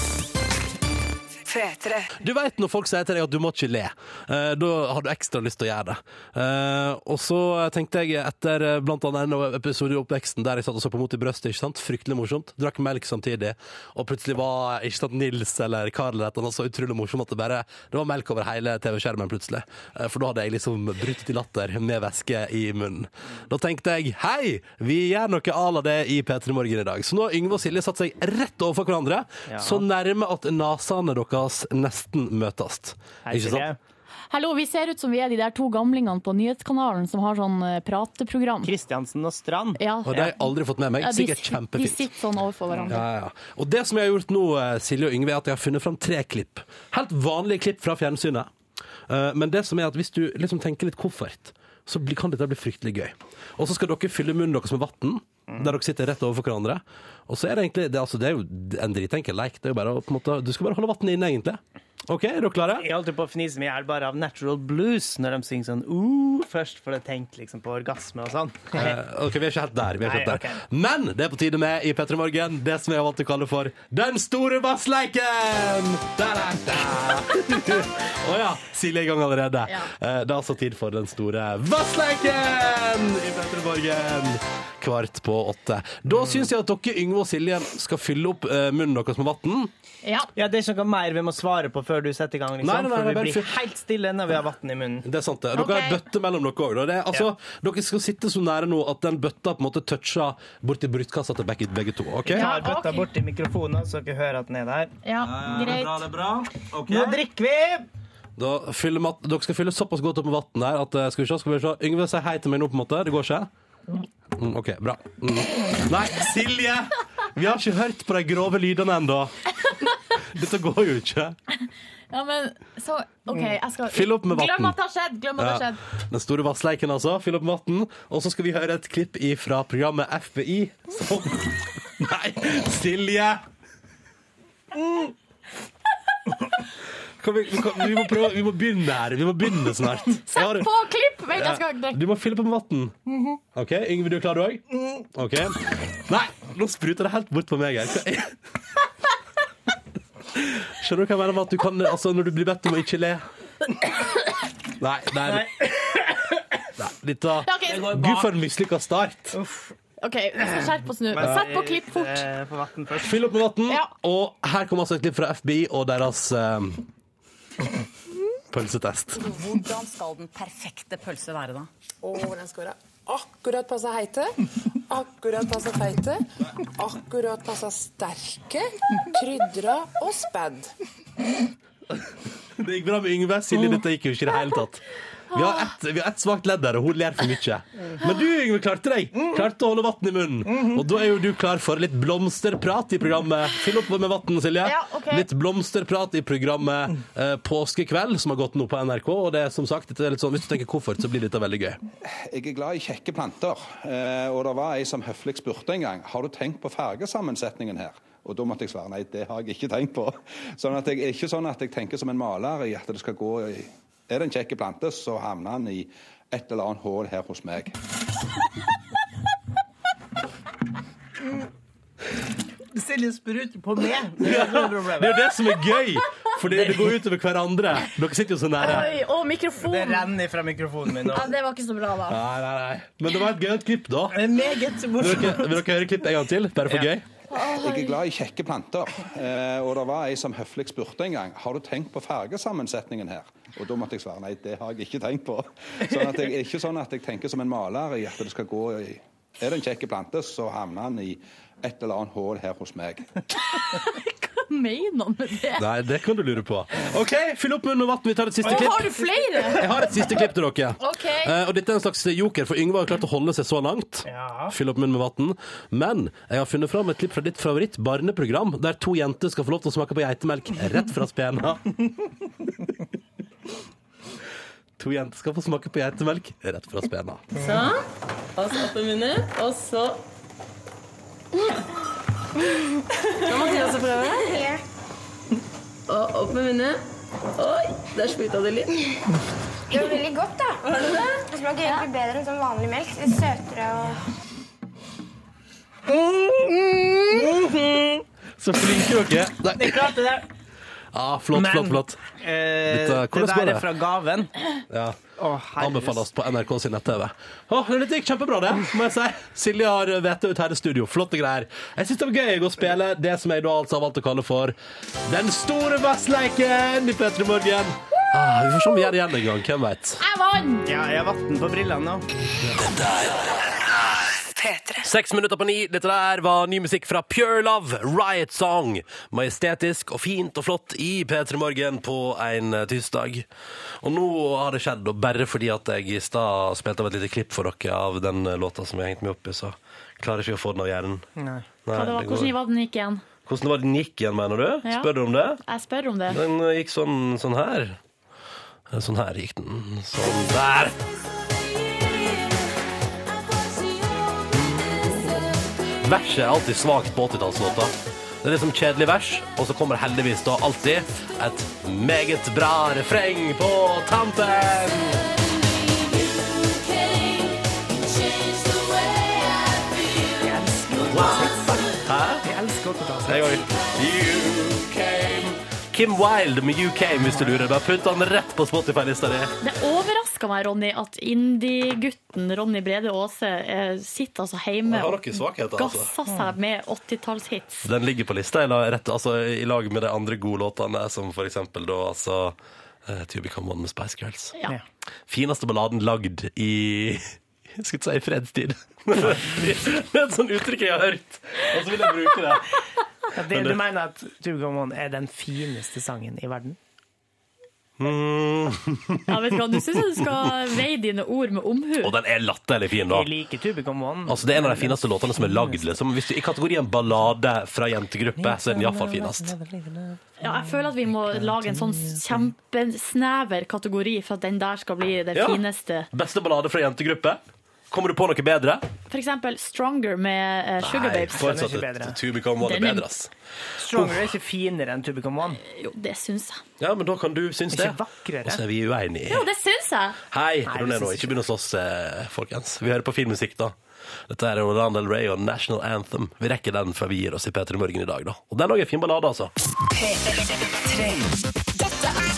P3. Du vet når folk sier til deg at du må ikke le, eh, da har du ekstra lyst til å gjøre det. Eh, og så tenkte jeg etter eh, blant annet en episode i oppveksten der jeg satt og så på mot i brøstet, ikke sant? fryktelig morsomt, drakk melk samtidig, og plutselig var ikke sant, Nils eller Karl eller et eller annet så utrolig morsom at det bare det var melk over hele TV-skjermen plutselig. Eh, for da hadde jeg liksom brutt i latter med væske i munnen. Da tenkte jeg hei, vi gjør noe à la det i P3 Morgen i dag. Så nå har Yngve og Silje satt seg rett overfor hverandre. Så nærme at nasene deres nesten møtes. Ikke sant? Hallo, vi ser ut som vi er de der to gamlingene på nyhetskanalen som har sånn eh, prateprogram. Kristiansen og Strand. Ja. Og det har jeg aldri fått med meg. Ja, de Sikkert sit- De kjempefint. sitter sånn overfor hverandre. Ja, ja. Og det som jeg har gjort nå, eh, Silje og Yngve, er at jeg har funnet fram tre klipp. Helt vanlige klipp fra fjernsynet. Eh, Men det som er at hvis du liksom tenker litt koffert, så blir- kan dette bli fryktelig gøy. Og så skal dere fylle munnen deres med vann, der dere sitter rett overfor hverandre. Og så er det egentlig det, er altså, det er jo en dritenkel leik. Det er jo bare å på en måte Du skal bare holde vannet inne, egentlig. OK, er dere klare? Jeg holdt jo på å fnise meg i hjel bare av natural blues når de synger sånn uh, først, for jeg tenkte liksom på orgasme og sånn. Eh, ok, Vi er ikke helt der. Vi er ikke Nei, helt der. Men det er på tide med i P3 Morgen det som jeg har valgt å kalle for Den store bassleiken! Da, da, da. Å ja, Silje er i gang allerede. Ja. Eh, det er altså tid for Den store bassleiken i P3 Morgen. Kvart på åtte. Da syns jeg at dere, Yngve og Silje, skal fylle opp eh, munnen deres med vann. Ja. Ja, Det er ikke noe mer vi må svare på før du setter i gang, liksom. Nei, nei, nei, for vi bare blir fyr- helt stille når vi har vann i munnen. Det er sant, det. Dere har Ok. bøtte mellom dere òg. Altså, Dere skal sitte så nære nå at den bøtta på en måte toucher borti brystkassa til begge, begge to. ok? Jeg har bøtta ok. borti mikrofonen, så dere hører at den er der. ja, greit. Eh, det er bra. Nå drikker vi! Da fyller mat, dere skal fylle såpass godt opp med vann her at eh, Skal vi se, skal vi se. Yngve, si hei til meg nå, på en måte. Det går ikke? Mm, OK, bra. Mm. Nei, Silje! Vi har ikke hørt på de grove lydene ennå. Dette går jo ikke. Ja, men så OK, jeg skal Fyll opp med Glem vatten. at det har skjedd! Glem at det har Ja. skjedd. Den store vassleiken, altså. Fyll opp med vann. Og så skal vi høre et klipp fra programmet FBI som Nei, Silje! Mm. Kan vi, vi, kan, vi, må prøve, vi må begynne her. Vi må begynne snart. Jeg har- Sett på klipp! Vent, jeg skal du må fylle på med vann. OK, Yngve, du er klar, du òg? OK. Nei, nå spruter det helt bort på meg her. Hva er- Skjønner du hva jeg mener med at du kan Altså, når du blir bedt om å ikke le Nei, nei. nei. Dette Ja, OK, Gud, for en mislykka start. ok, vi skal skjerpe oss nå. Sett på klipp fort. Eh, På vatten først. Fyll opp med vann, Ja. og her kommer altså et klipp fra FBI og deres eh, pølsetest. Hvordan skal den perfekte pølse være, da? Og den skal være akkurat passe heite, akkurat passe feite, akkurat passe sterke, krydra og spedd. Det gikk bra med Yngve. Silje, dette gikk jo ikke i det hele tatt. Vi har ett vi har ett svakt ledd der, og hun ler for mye. Men du, Yngve, klarte deg. Klarte å holde vann i munnen. Og da er jo du klar for litt blomsterprat i programmet. Fyll opp med vann, Silje. Ja, ok. Litt blomsterprat i programmet eh, Påskekveld, som har gått nå på NRK. Og det er som sagt, dette er litt sånn, hvis du tenker koffert, så blir dette veldig gøy. Jeg er glad i kjekke planter, eh, og det var ei som høflig spurte en gang har du tenkt på fargesammensetningen her. Og da måtte jeg svare nei, det har jeg ikke tenkt på. Sånn at jeg er ikke sånn at jeg tenker som en maler i at det skal gå i Er det en kjekk plante, så havner han i et eller annet hull her hos meg. Silje spruter på meg. Det er det Det problemet. er jo det som er gøy! Fordi det går utover hverandre. Dere sitter jo så nære. Oi, og mikrofon! Det Ja, renner fra mikrofonen min nå. det var ikke så bra, da. Nei, nei, nei. Men det var et gøyalt klipp, da. Det er Meget Vil morsomt. dere, vil dere høre klipp en gang til? Bare for Ja. gøy? Jeg er glad i kjekke planter, eh, og det var ei som høflig spurte en gang har du tenkt på fargesammensetningen her. Og da måtte jeg svare nei, det har jeg ikke tenkt på. Sånn at jeg er ikke sånn at jeg tenker som en maler i at det skal gå i Er det en kjekk plante, så havner han i et eller annet hull her hos meg. Hva mener han med det? Nei, det kan du lure på. OK, fyll opp munnen med vann. Vi tar et siste Å, klipp. har du flere? Jeg har et siste klipp til dere. Ok. Eh, og dette er en slags joker, for Yngve har klart å holde seg så langt. Fyll opp munnen med vann. Men jeg har funnet fram et klipp fra ditt favoritt barneprogram, der to jenter skal få lov til å smake på geitemelk rett fra spena. to jenter skal få smake på geitemelk rett fra spena. Så. Altså opp med munnen, og så Nå må Thea også prøve. Og opp med munnen. Oi, der spruta det litt. Det var veldig godt, da. Var det det? Det smaker egentlig bedre enn sånn vanlig melk. Det er søtere og Så flinke dere. Nei. Det klarte det. Ja, flott, Men, flott, flott. Dette- Eh, det hvordan går der er det? fra gaven. Ja. Anbefales på NRK sin nett-TV. Åh, det gikk kjempebra, det, må jeg si. Silje har vete ut her i studio. Flotte greier. Jeg syns det var gøy å spille det som jeg da altså har valgt å kalle for Den store vassleiken i P3 Morgen. Ah, vi får se om vi gjør det igjen en gang. Hvem veit. Jeg vant! Ja, jeg har vann på brillene nå. Seks minutter på ni. Dette der var ny musikk fra Pure Love, Riot Song. Majestetisk og fint og flott i P3 Morgen på en eh, tirsdag. Og nå har det skjedd, og bare fordi at jeg i stad spilte av et lite klipp for dere av den eh, låta som jeg hengte meg opp i, så klarer jeg ikke å få den av hjernen. Nei. Hva det var, det går- hvordan var den gikk igjen? Hvordan var den gikk igjen, mener du? Ja. Spør du om det? Jeg spør om det. Den eh, gikk sånn, sånn her. Eh, Sånn her gikk den. Sånn der. Verset er alltid svakt på 80-tallslåter. Det er liksom kjedelig vers, og så kommer heldigvis da alltid et meget bra refreng på tampen. Hæ? Jeg elsker Jeg òg. You came. Kim Wilde med You Came, hvis du lurer. Bare putt den rett på Spotify-lista di. Det overraska meg, Ronny, at indie-gutten Ronny Brede Aase eh, sitter altså hjemme Han har og noen svakheter, altså. gasser seg med 80-tallshits. Den ligger på lista i lag, rett, altså, i lag med de andre gode låtene, som for eksempel da altså eh, To Become One med Spice Girls. Ja. Fineste balladen lagd i jeg skulle si i fredstid. det er et sånt uttrykk jeg har hørt, og så vil jeg bruke det. Ja, det, du mener at Two Gone One er den fineste sangen i verden? Mm. Ja, vet du hva, Nå syns jeg du skal veie dine ord med omhu. Og den er latterlig fin, da. Jeg liker Two Become One. Altså, det er en av de fineste låtene som er lagd. Liksom. Hvis du, I kategorien ballade fra jentegruppe, så er den iallfall finest. Ja, jeg føler at vi må lage en sånn kjempesnever kategori for at den der skal bli det Ja. fineste. Beste ballade fra jentegruppe? Kommer du på noe bedre? For eksempel Stronger med eh, Sugar Nei, Babes. fortsatt et To Become One er Den er- bedre, ass. Stronger er ikke finere enn Two Become One. Jo, det syns jeg. Ja, men da kan du synes det. Og så er vi uenige. Jo, det syns jeg! Hei, Nei, ro det ned nå. synes Ikke begynn å slåss, eh, folkens. Vi hører på filmmusikk, da. Dette er Orlando Del Rey og National Anthem. Vi rekker den før vi gir oss i P3 Morgen i dag, da. Og den òg er en fin ballade, altså. P3. Dette er